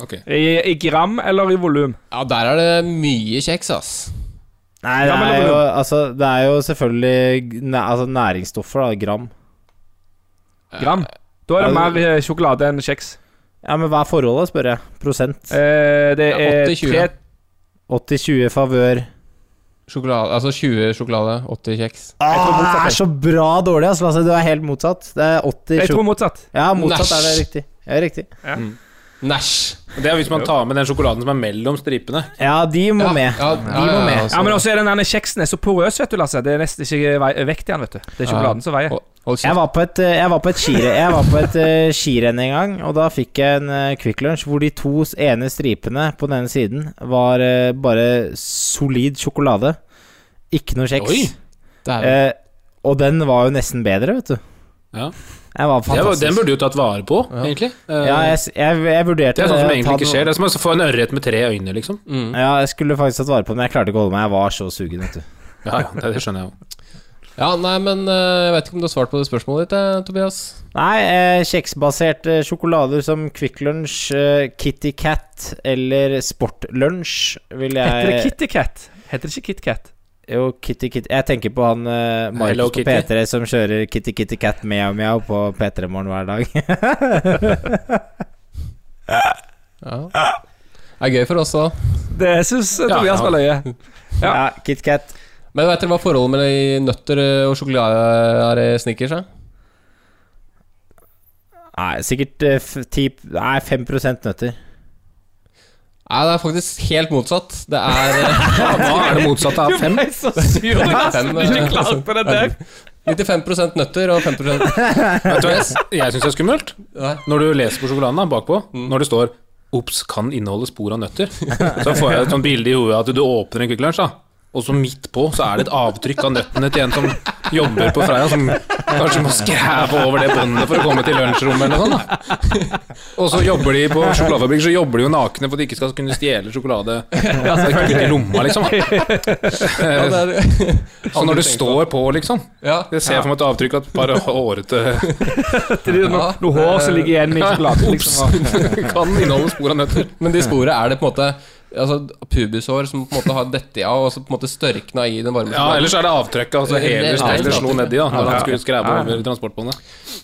G: Ok.
F: I, I gram eller i volum?
A: Ja, der er det mye kjeks, ass.
E: Nei, det
F: Ja, men
E: er
F: det-
E: jo, altså, det er jo selvfølgelig g- næ altså, næringsstoffer, da, gram.
F: Gram. Da er det mer eh, sjokolade enn kjeks.
E: Ja, Men hva er forholdet, spør jeg? Prosent?
F: Eh, det
A: Ja,
F: er
A: 80-20.
F: tre
E: 80-20 favør.
A: Sjokolade, altså 20 sjokolade, 80 kjeks.
E: Ah, det Altså, er så bra dårlig, altså. Lasse, Du er helt motsatt. Det er
F: Jeg
E: 80-20
F: tror motsatt.
E: Ja, motsatt
A: Næsj.
E: er det riktig. Ja, riktig.
A: Næsj.
G: Det er hvis man tar med den sjokoladen som er mellom stripene.
E: Ja, de må med.
A: Ja,
E: de må med.
F: Ja, men også er den der kjeksen er så porøs, vet du, Lasse. Det er nesten ikke vei- vekt i den, vet du. Det er sjokoladen som veier.
A: Hold- Hold
E: Jeg
A: kjeft.
E: var på et, eh, jeg var på et, skire, jeg var på et eh, skirenn en gang, og da fikk jeg en eh, Quick Lunch hvor de to s- ene stripene på den ene siden var eh, bare solid sjokolade. Ikke noe
G: Oi.
E: kjeks.
A: Dæven.
E: Eh, og den var jo nesten bedre, vet du.
G: Ja.
E: Den var
G: Det var,
E: fantastisk.
G: den burde du tatt vare på, egentlig. Eh,
E: ja, jeg, s- jeg, jeg vurderte
G: det er sånn som
E: å ta
G: egentlig ikke
E: den-
G: skjer. Det er som å få en ørret med tre øyne, liksom.
E: Ja, jeg skulle faktisk tatt vare på den, men jeg klarte ikke å holde meg. Jeg var så sugen, vet du.
G: Ja, ja, det- det skjønner jeg jo.
A: Ja, nei, men eh, jeg vet ikke om du har svart på det spørsmålet ditt, eh, Tobias.
E: Nei, eh, kjeksbaserte sjokolader som Quick Lunch, eh, Kitty Cat eller Sport Lunch vil jeg
F: Heter det Kitty Cat? Heter det ikke Kit Kat?
E: Jo, Kitty Kitty Jeg tenker på han uh,
G: Hello
E: Markus på
G: Kitty.
E: P3 som kjører Kitty Kitty Cat Meow Meow på P3 Morgen hver dag.
A: Ja. Det er gøy for oss òg.
F: Det syns Tobias
G: ja.
F: var løye.
E: ja,
F: Ja.
E: Kit Kat.
A: Men vet dere hva forholdet mellom de nøtter eh, og sjokolade er i Snickers? er?
E: Nei, sikkert eh, f- 10 Nei, 5 nøtter.
A: Nei, det er faktisk helt motsatt. Det er eh,
G: Ja, hva er det motsatte av fem?
F: Jeg er så sur Lasse,
A: Fem,
F: du er ikke
A: eh,
F: klar på det der.
A: 95 nøtter og 5
G: Vet du hva jeg- jeg syns er skummelt?
A: Nei.
G: Når du leser på sjokoladen da, bakpå, når det står 'Ops, kan inneholde spor av nøtter', så får jeg et sånt bilde i hodet at du åpner en Kvikk Lunsj, da, og så midt på så er det et avtrykk av nøttene til en som jobber på Freia, som kanskje må skræve over det båndet for å komme til lunsjrommet eller noe sånt. da. Og så jobber de på sjokoladefabrikk, så jobber de jo nakne for at de ikke skal kunne stjele sjokolade altså, ikke i lomma, liksom.
A: Ja, det er,
G: Så når det står på, liksom
A: ja.
G: Jeg ser for meg et avtrykk av et par hårete
F: Det er noe, noe hår som ligger igjen i sjokoladen. Liksom.
G: Kan inneholde spor av nøtter.
A: Men de sporene er det på en måte Altså pubeshår som på en måte har dette av, og så på en måte størkna i den varme
G: Ja,
A: sjokoladen.
G: ellers er det avtrykket. Altså hele
A: Ja,
G: stedet
A: ja.
G: slo nedi da når han skulle skreve over transportbåndet.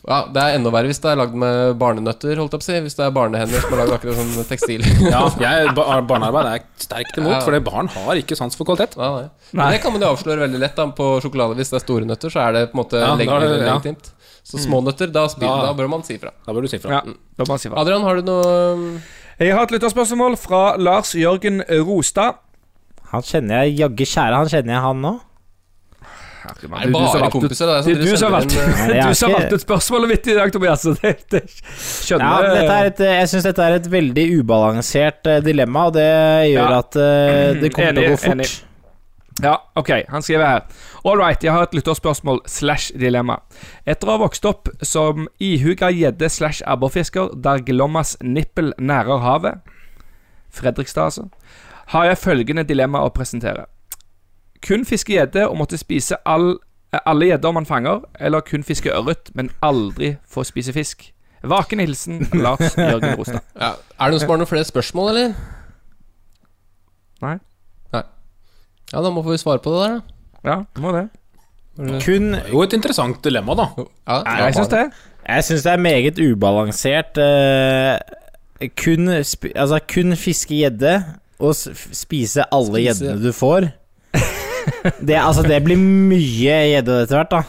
A: Ja, Det er enda verre hvis det er lagd med barnenøtter, holdt jeg på å si. Hvis det er barnehender som har lagd akkurat sånn tekstil.
G: Ja, jeg, ba- barnearbeid er sterkt imot,
A: Ja.
G: for barn har ikke sans for kvalitet.
A: Nei, nei. Men det kan man jo avsløre veldig lett da, på sjokolade. Hvis det er store nøtter, så er det på en måte
G: Ja, da
A: leg-
G: er det- ja.
A: legitimt. Så små nøtter, da, spyr,
G: Ja.
A: da bør man si fra.
G: Da bør du si fra.
F: Ja, da må jeg si hva.
A: Adrian, har du noe um,
F: Jeg har et lytterspørsmål fra Lars Jørgen Rostad.
E: Han kjenner jeg jaggu kjære, han kjenner jeg han nå.
A: Er det bare kompiser? da?
F: Det er
A: dere
F: du som har valgt
A: sender inn, uh,
E: Nei, jeg
F: Du som har
E: er ikke-
F: valgt ut spørsmålet mitt i dag, Tobias. Så det, det
E: Ja,
F: skjønner
E: men dette er et, eh, jeg syns dette er et veldig ubalansert eh, dilemma, og det gjør
F: Ja.
E: at eh, det kommer til å
F: Enig,
E: gå fort.
F: enig. Ja, ok, han skriver her. All right, jeg har et lytterspørsmål slash dilemma. Etter å ha vokst opp som ihuga gjedde slash abborfisker der glommas nippel nærer havet, Fredrikstad altså, har jeg følgende dilemma å presentere. Kun fiske gjedde og måtte spise all, eh, alle gjedder man fanger, eller kun fiske ørret, men aldri få spise fisk. Vaken hilsen Lars Jørgen Rostad.
A: ja. Er det noen som har noen flere spørsmål, eller?
F: Nei.
A: Nei. Ja, da må vi svare på det der, da.
F: Ja, må det.
E: Kun
G: Jo, et interessant dilemma, da.
A: Ja,
F: Jeg syns det.
E: Jeg syns det er meget ubalansert. eh, kun, sp altså, kun fiske gjedde og s f- spise alle
A: Spise.
E: gjeddene du får. Det, altså, det blir mye gjedde etter hvert, da.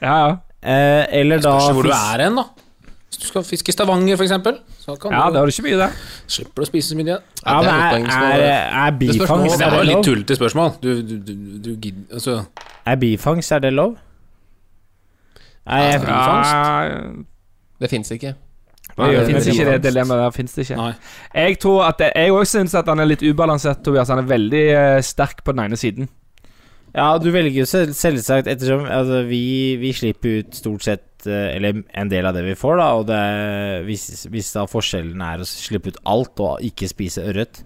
F: Ja, ja.
E: Eh, eller da
G: Spørs hvor du
E: fis-
G: er hen, da. Hvis du skal fiske i Stavanger, f.eks., så kan
F: Ja, det
G: du
F: har du ikke mye der.
G: slipper du å spise så mye. igjen.
E: Ja,
A: det er
E: men
A: et
E: er,
A: poeng som
E: er,
A: er-
E: er
A: spørs nå,
E: bifangst
G: Det var
E: er det
G: et litt
E: lov?
G: tullete spørsmål. Du, du, du, du gidder Altså,
E: Er bifangst, er det lov? Nei, jeg,
F: Ja,
A: Det fins ikke.
F: Nei, det
E: gjør det
F: finnes
E: med
F: ikke det
E: dilemmaet?
F: dilemmaet der. finnes det ikke
G: Nei.
F: Jeg tror at det- Jeg òg syns at han er litt ubalansert, Tobias. Han er veldig eh, sterk på den ene siden.
E: ja, du velger jo selv, selvsagt ettersom altså, vi, vi slipper ut stort sett eh, Eller en del av det vi får, da. Og det er, hvis, hvis da forskjellen er å slippe ut alt og ikke spise ørret,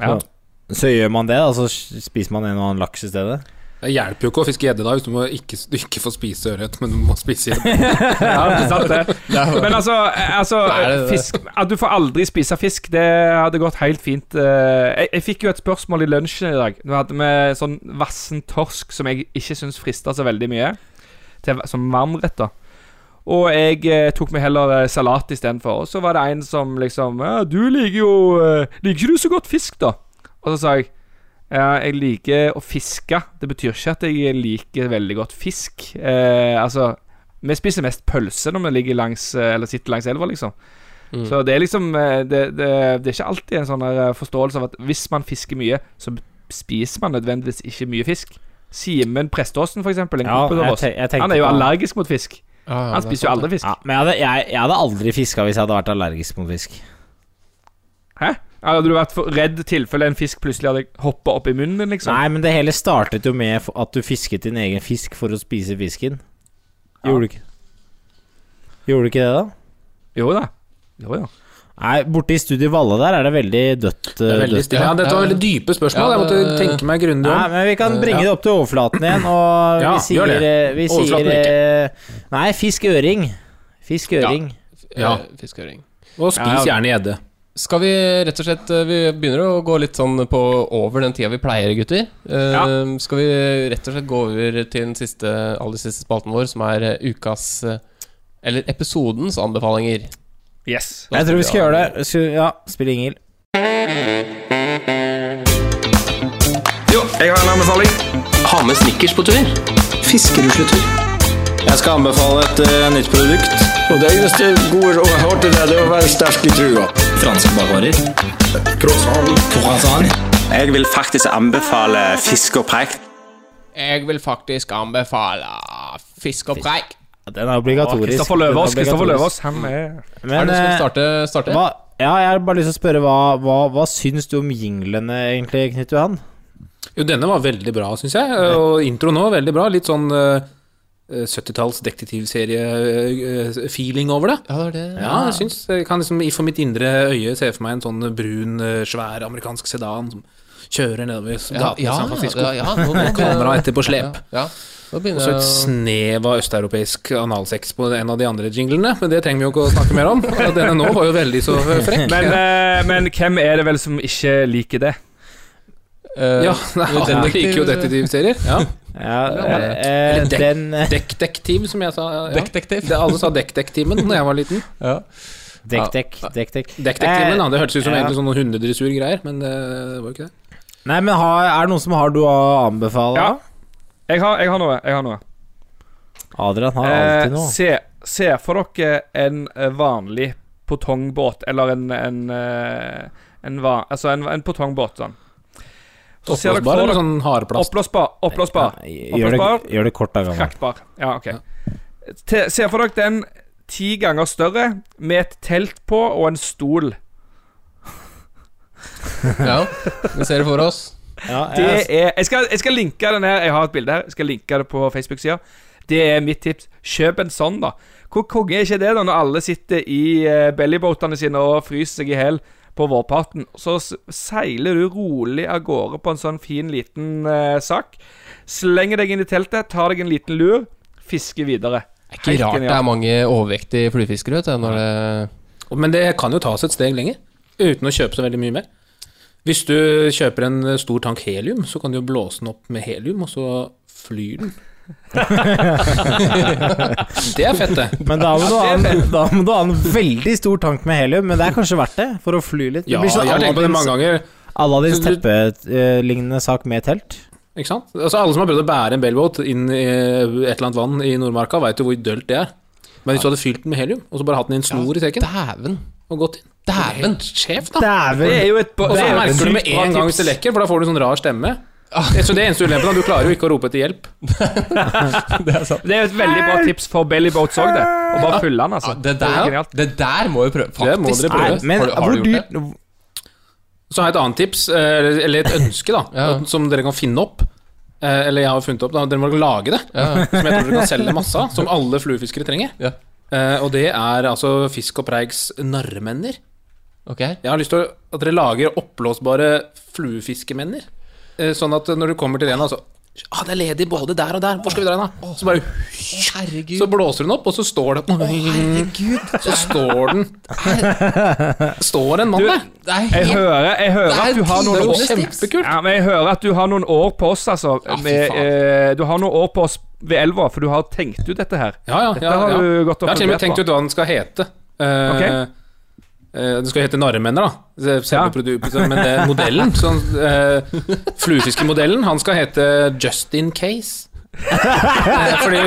F: Ja.
E: så, så gjør man det. Da, så spiser man en og annen laks i stedet.
G: det hjelper jo ikke å fiske gjedde da hvis du, må ikke, du ikke får spise ørret, men du må spise gjedde.
F: Ja, det er sant det. Men altså, eh, altså
A: Nei, det er det.
F: fisk, At du får aldri spise fisk, det hadde gått helt fint. eh. Jeg, jeg fikk jo et spørsmål i lunsjen i dag. Nå hadde vi sånn vassen torsk som jeg ikke syns frister så veldig mye. Til, som varmrett, da. Og jeg eh, tok meg heller eh, salat istedenfor. Og så var det en som liksom ja, 'Du liker jo eh, Liker ikke du så godt fisk, da?' Og så sa jeg ja, jeg liker å fiske. Det betyr ikke at jeg liker veldig godt fisk. Eh, altså, vi spiser mest pølse når vi ligger langs, eh, eller sitter langs elva, liksom. Så det er liksom eh, det, det, det er ikke alltid en sånn her eh, forståelse av at hvis man fisker mye, så b- spiser man nødvendigvis ikke mye fisk. Simen Preståsen, for eksempel, en
E: Ja,
F: kompis av
E: jeg
F: oss,
E: te- jeg tenkte
F: han er jo
E: på-
F: allergisk mot fisk.
A: Ja, ja,
F: Han
A: det er
F: spiser jo
A: sant,
F: aldri fisk.
E: Ja, men jeg hadde, jeg, jeg hadde aldri fiska hvis jeg hadde vært allergisk mot fisk.
F: Hæ? Ja, Hadde du vært for redd tilfelle en fisk plutselig hadde hoppa opp i munnen din, liksom?
E: Nei, men det hele startet jo med f- at du fisket din egen fisk for å spise fisken. Gjorde du ikke Gjorde du ikke det, da?
F: Jo da. Jo, ja.
E: Nei, borte i studiet Valle der er det veldig dødt.
G: Det er
E: eh,
G: veldig
E: dødt.
G: stille. Ja, dette var veldig dype spørsmål.
A: Ja,
G: Jeg måtte
A: det-
G: tenke meg grundig
E: Nei,
G: om.
E: men vi kan bringe det opp til overflaten igjen, og vi
G: Ja, gjør
E: sier,
G: det.
E: eh, vi
G: Overflaten
E: sier eh, Nei, fisk øring. Fisk øring.
A: Eh,
G: Ja.
A: Fiskeøring.
G: Og spis gjerne gjedde.
A: Skal vi rett og slett eh, Vi begynner å gå litt sånn på over den tida vi pleier, gutter. Eh,
F: Ja.
A: Skal vi rett og slett gå over til den siste, aller siste spalten vår, som er eh, ukas eh, Eller episodens anbefalinger.
F: Yes.
E: Jeg tror vi skal gjøre det. Skal- Ja, spill Ingil.
A: Ha med snickers på tur.
I: Jeg skal anbefale et eh, nytt produkt. Og det eneste gode rådet jeg har til deg, det er å være sterk i trua. Franske bakvarer. Croissant. Jeg vil faktisk anbefale fisk og preik.
A: Jeg vil faktisk anbefale fisk og preik.
E: Ja, Den er obligatorisk.
F: Kristoffer
E: Den er
F: Løvaas, Kristoffer
E: obligatorisk.
F: Løvaas. Han er
A: Er
E: Men
A: det noen som
E: eh,
A: vil starte? starte?
E: hva, ja, jeg har bare lyst til å spørre, hva, hva, hva syns du om jinglene egentlig, Knut Johan?
G: Jo, denne var veldig bra, syns jeg. Og introen òg, veldig bra. Litt sånn eh, 70-talls detektivserie-feeling over det.
A: Ja, det er det.
G: Ja, jeg syns Jeg kan liksom i- for mitt indre øye se for meg en sånn brun, eh, svær amerikansk sedan som kjører nedover
A: Ja,
G: gatene i
A: ja,
G: San Francisco.
A: ja, ja, nå- nå-
G: Kamera etter på slep.
A: Ja, ja. Nå
G: Og
A: begynner
G: så
A: jeg
G: et
A: å
G: snev av østeuropeisk analsex på en av de andre jinglene, men det trenger vi jo ikke å snakke mer om. Og Denne nå var jo veldig så frekk.
F: Men, eh, men hvem er det vel som ikke liker det?
A: Eh,
G: ja, nei, alle
A: detektiv-
G: liker jo detektivserier. Ja.
E: Ja,
G: Eller
E: eh,
G: dekk.
E: den eh,
G: Dekkdektiv, som jeg sa. Ja.
A: Dekkdektiv.
G: Det, alle sa dekkdektimen da jeg var liten.
A: Ja.
E: Dekk, dekk, dekk, dekk.
G: Dekkdektimen, da. Det hørtes ut som
E: ja.
G: egentlig sånn noen hundedressurgreier, men det var jo ikke det.
E: Nei, men har, er det noen som har du å anbefale?
F: Ja. Jeg har, jeg har noe. Jeg har noe.
E: Adrian har
F: Eh,
E: alltid noe.
F: se, se for dere en eh, vanlig potongbåt, eller en en, eh, en, va, altså en, en potongbåt sånn. Så ser dere for
G: Oppblåsbar eller
F: dere-
G: sånn hardplast?
F: Oppblåsbar. Oppblåsbar.
E: Ja, gjør, det, gjør det kort av gangen.
F: Fraktbar. Ja, OK. Te, se for dere den ti ganger større, med et telt på og en stol.
A: Ja, vi ser det for oss.
E: Ja,
F: Det
E: jeg,
F: er, jeg, skal, jeg skal linke den her. Jeg har et bilde her. Jeg skal linke det på Facebook-sida. Det er mitt tips. Kjøp en sånn, da. Hvor konge er ikke det, da, når alle sitter i eh, bellyboatene sine og fryser seg i hjel på vårparten? Så s- seiler du rolig av gårde på en sånn fin, liten eh, sak. Slenger deg inn i teltet, tar deg en liten lur, fisker videre.
A: Ikke rart det er mange overvektige fluefiskere, vet du. Når det
G: Men det kan jo tas et steg lenger, uten å kjøpe så veldig mye mer. Hvis du kjøper en eh, stor tank helium, så kan du jo blåse den opp med helium, og så flyr den. det er fett, det.
E: men da må, du ha en, da må du ha en veldig stor tank med helium, men det er kanskje verdt det, for å fly litt.
G: Ja, jeg har tenkt på det mange ganger.
E: Aladdins
G: Så du-
E: teppe-lignende sak med telt.
G: Ikke sant? Altså Alle som har prøvd å bære en bellboat inn i eh, et eller annet vann i Nordmarka, veit jo hvor dølt det er. Men hvis du hadde fylt den med helium, og så bare hatt den i en snor i sekken
A: Dæven!
G: og gått inn
A: Dæven!
G: Sjef, da!
F: Det er
E: Dæven!
F: jo et bo-
G: Og
F: det
G: så
F: er jo et
G: merker du med
F: sykt
G: en
F: bra
G: gang
F: tips. Ah.
G: hvis det lekker, for da får du sånn rar stemme. Eh, Så det er eneste ulempen er at du klarer jo ikke å rope etter hjelp.
F: Det er jo et veldig bra tips for bellyboats òg, det. Å bare fylle den, altså.
A: Ja,
F: er
A: det,
F: jo
A: der,
F: genialt.
A: det der må vi prøve. Faktisk.
G: må dere prøve.
E: Nei,
A: Har du-
E: men
A: har du,
E: hvor
A: gjort det?
E: dyrt
G: Så har jeg et annet tips, eh, eller et ønske, da,
A: Ja.
G: som dere kan finne opp. Eh, Eller jeg har funnet opp, da. Dere må lage det.
A: Ja.
G: Som jeg tror dere kan selge masse av. Som alle fluefiskere trenger.
A: Ja.
G: Eh, Og det er altså Fisk og Preiks narremenner.
A: Ok.
G: Jeg har lyst til å- at dere lager oppblåsbare fluefiskemenner. Eh, Sånn at når du kommer til en, altså Ah, det er ledig både der og der. Hvor skal vi dra hen, da? Så bare
A: Herregud.
G: Så blåser hun opp, og så står det Så står den Står en mann der.
A: det er
F: Jeg
A: helt
F: hører, jeg hører
A: Det er
F: at du har
A: et
G: Det er
F: noen år
A: tidligere
G: jo kjempekult.
F: Ja, men jeg hører at du har noen år på oss, altså.
A: fy
F: med, eh, du har noen år på oss ved elva, for du har tenkt ut dette her.
G: Ja, ja,
F: Dette
G: ja,
F: har
G: ja.
F: du gått og
G: Jeg har til og med
F: fundert
G: tenkt
F: på.
G: ut hva den skal hete. Eh,
F: Ok.
G: eh, det skal hete Narremenner, da.
F: Ja.
G: Selve produktet. Men det er modellen. Sånn, eh, Fluefiskemodellen. Han skal hete Just In Case. Eh, Fordi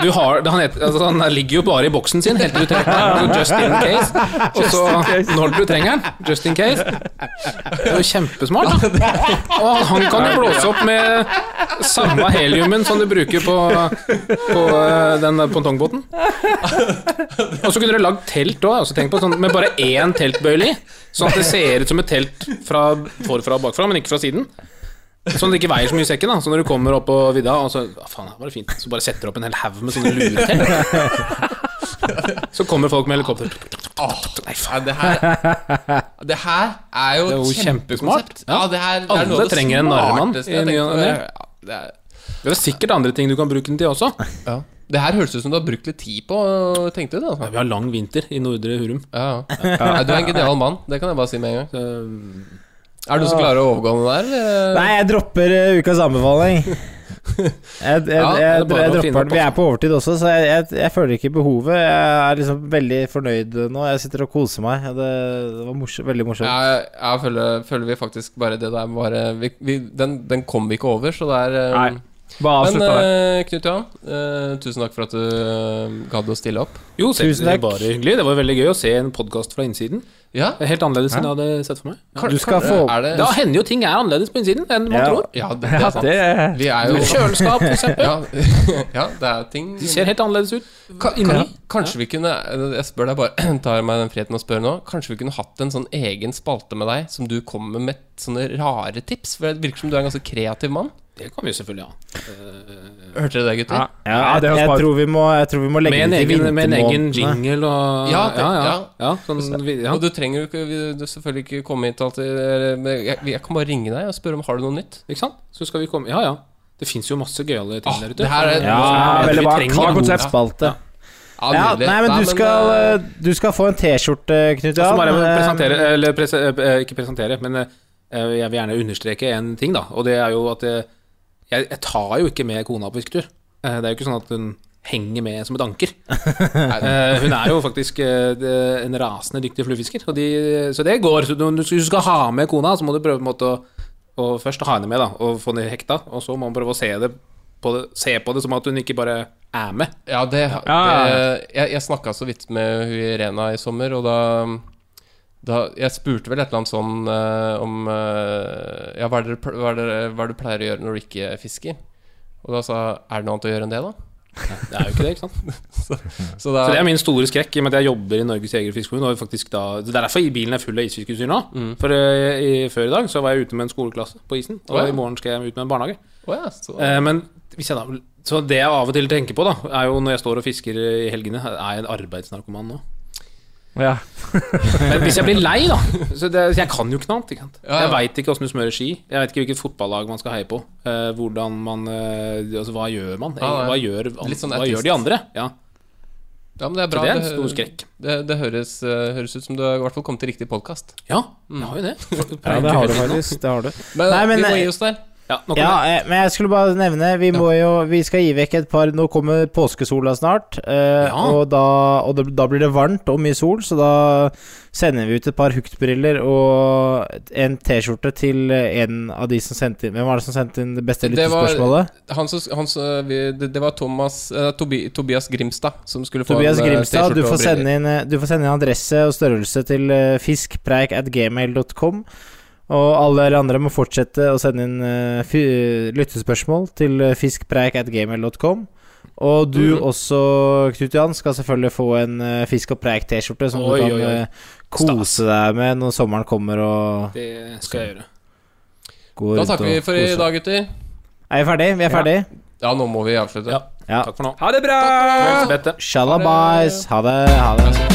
G: du har Han, heter, altså, han ligger jo bare i boksen sin helt til du trenger den. altså, Just in case. Og så når du trenger den. Just in case. Det er jo kjempesmart. da. Og han kan jo blåse opp med samme heliumen som du bruker på, på eh, den der pongtongbåten. Og så kunne dere lagd telt òg, altså, tenk på sånn, med bare én teltbøyle i. Sånn at det ser ut som et telt fra forfra og bakfra, men ikke fra siden. Sånn at det ikke veier så mye i sekken. da Så når du kommer opp på vidda, og så ah, faen, her var det fint Så bare setter du opp en hel haug med sånne luretelt. Så kommer folk med helikopter. Nei, faen.
A: Det her, det her er jo
G: Det er jo
A: et kjempekonsept.
G: kjempesmart. Ja.
A: det her, det
G: Alle
A: er noe av det
G: trenger en narremann
A: smarteste
G: i
A: jeg har
G: ny og
A: tenkt på.
G: ne.
A: Ja, det, er-
G: Det er sikkert andre ting du kan bruke den til også.
A: ja. det her høres ut som du har brukt litt tid på, tenkte du det? Altså.
G: Vi har lang vinter i Nordre Hurum.
A: Ja, ja. Nei, Du er en genial mann, det kan jeg bare si med en gang.
G: Så,
A: Er det noen som klarer å overgå den der? eller?
E: Nei, jeg dropper eh, ukas anbefaling. Jeg, jeg,
A: Ja,
E: jeg,
A: det
G: er bare
E: jeg
G: å finne
E: dropper den.
G: på.
E: Vi er på overtid også, så jeg, jeg, jeg føler ikke behovet. Jeg er liksom veldig fornøyd nå. Jeg sitter og koser meg. Ja, Det, det var morsom, veldig morsomt.
A: Jeg, jeg føler, føler vi faktisk bare det der bare vi, vi, den, den kom vi ikke over, så det er eh,
F: Nei, bare
A: Men
F: avslutt det.
A: eh, Knut Johan, eh, tusen takk for at du eh, gadd å stille opp.
G: jo, selv-
E: Tusen takk.
G: Bare hyggelig. Det var veldig gøy å se en podkast fra innsiden.
A: Ja,
G: Det er Helt annerledes enn jeg hadde sett for meg.
E: Du skal få
A: er det
G: Da hender jo ting er annerledes på innsiden enn man
E: Ja.
G: tror.
A: Ja, det, det er sant.
F: Det er
A: Vi er jo
G: Kjøleskap, for eksempel.
A: ja, ja, det er ting
G: De ser helt annerledes ut.
A: Ka- kan, Kanskje vi kunne eh, Jeg spør deg bare, tar meg den friheten å spørre nå. Kanskje vi kunne hatt en sånn egen spalte med deg som du kommer med sånne rare tips? For det virker som du er en ganske kreativ mann.
G: Det kan vi jo selvfølgelig ha.
A: Hørte dere det, gutter?
F: Ja.
E: ja,
F: Ja, det
E: jeg,
F: høres
E: jeg,
F: bra ut.
E: tror vi må, jeg tror vi må legge
G: Med en,
E: det til
G: egen, med en egen
E: vintermånedene.
G: jingle og
A: Ja, det- ja.
G: sånn, vi- ja.
A: Og du trenger jo ikke vi- du selvfølgelig ikke komme hit alltid eller- men jeg, jeg kan bare ringe deg og spørre om har du noe nytt.
G: Ikke sant? Så skal vi komme Ja, ja. Det fins jo masse gøyale ting
A: Ah,
G: der ute.
A: det her er-
E: Ja,
G: Ja,
E: veldig
G: vi
E: bra.
G: trenger
E: Bra
G: en
F: konsept.
E: Hovedspalte. Ja,
A: nydelig.
E: nei, men du skal,
A: eh,
E: eh, du skal få en T-skjorte, Knut
G: Så
E: Johan.
G: bare jeg må
E: Eh,
G: presentere Eller prese, eh, ikke presentere, men eh, jeg vil gjerne understreke en ting, da. Og det er jo at eh, jeg, jeg tar jo ikke med kona på fisketur. Eh, Det er jo ikke sånn at hun henger med som et anker. Eh, Hun er jo faktisk eh, det- en rasende dyktig fluefisker, og de- så det går. Så du- Hvis du skal ha med kona, så må du prøve på en måte å å først ha henne med da, og få henne hekta, og så må man prøve å se, det på det, se på det som at hun ikke bare er med.
A: Ja, det,
F: Ja.
A: det Jeg, jeg snakka så vidt med hun Irena i sommer, og da, da Jeg spurte vel et eller annet sånn eh, om eh, Ja, hva er, det, dere pl- hva, er det, hva er det du pleier å gjøre når du ikke fisker? Og da sa jeg, Er det noe annet å gjøre enn det, da?
G: Det er jo ikke det, ikke sant?
A: Så da
G: Så det er min store skrekk, i og med at jeg jobber i Norges jeger- og fiskerforbund. og faktisk da- Det er derfor bilen er full av isfiskeutstyr nå.
A: Mm.
G: For eh, i, før i dag så var jeg ute med en skoleklasse på isen, og
A: Å, ja.
G: i morgen skal jeg ut med en barnehage.
A: Å ja, så,
G: Eh, men hvis jeg da Så det jeg av og til tenker på, da, er jo når jeg står og fisker i helgene, er jeg en arbeidsnarkoman nå?
F: Ja.
G: Men hvis jeg blir lei, da Så det, Jeg kan jo ikke noe annet. Ikke sant?
A: Ja, ja.
G: Jeg veit ikke åssen du smører ski. Jeg veit ikke hvilket fotballag man skal heie på. eh, hvordan man eh, Altså, hva gjør man?
A: Ja, ja.
G: Hva, gjør,
A: Litt sånn
G: hva
A: artist.
G: gjør de andre? Ja.
A: ja, men det er
G: Så
A: bra.
G: det er en
A: hø-
G: stor skrekk.
A: Det, det høres, eh, høres ut som du har i hvert fall kommet til riktig podkast.
G: Ja, jeg har jo det.
E: Ja, det har du faktisk. Det har du.
A: Men,
E: Nei, men,
A: vi må
E: eh,
A: gi oss der.
G: Ja, nå
E: Ja,
G: kommer det.
E: eh, men jeg skulle bare nevne Vi, må jo, vi skal gi vekk et par Nå kommer påskesola snart eh,
G: Ja.
E: Og, da, og det, da blir det varmt og mye sol Så da sender vi ut et par huktbriller Og en t-skjorte til en av de som sendte inn Hvem var det som sendte inn det beste
A: Det var-
E: lyttespørsmålet?
A: Han som, han som, vi, det, det var Thomas, eh, Tobi, Tobias Grimstad som skulle få
E: Tobias
A: en, eh,
E: Grimstad,
A: T-skjorte
E: du
A: og
E: får,
A: briller.
E: sende inn, eh, du får sende inn adresse og størrelse til eh, fiskpreik at gmail.com. Og alle dere andre må fortsette å sende inn eh, fy, lyttespørsmål til eh, fiskpreik at gmail.com. Og du
A: Mm.
E: også, Knut Johan, skal selvfølgelig få en eh, Fisk og preik-T-skjorte
G: Oi,
E: som du kan
G: oi, oi.
E: eh, kose deg med når sommeren kommer og
G: Det skal jeg gjøre.
E: går
A: Da
E: rundt
A: takker vi
E: og
A: for i
E: koser.
A: dag, gutter.
E: Er vi ferdig? Vi er ferdig?
A: Ja, nå må vi avslutte.
G: Ja.
E: Ja.
G: Takk for nå.
F: Ha det bra!
G: Bette.
E: Shalabais. Ha det. Ha det.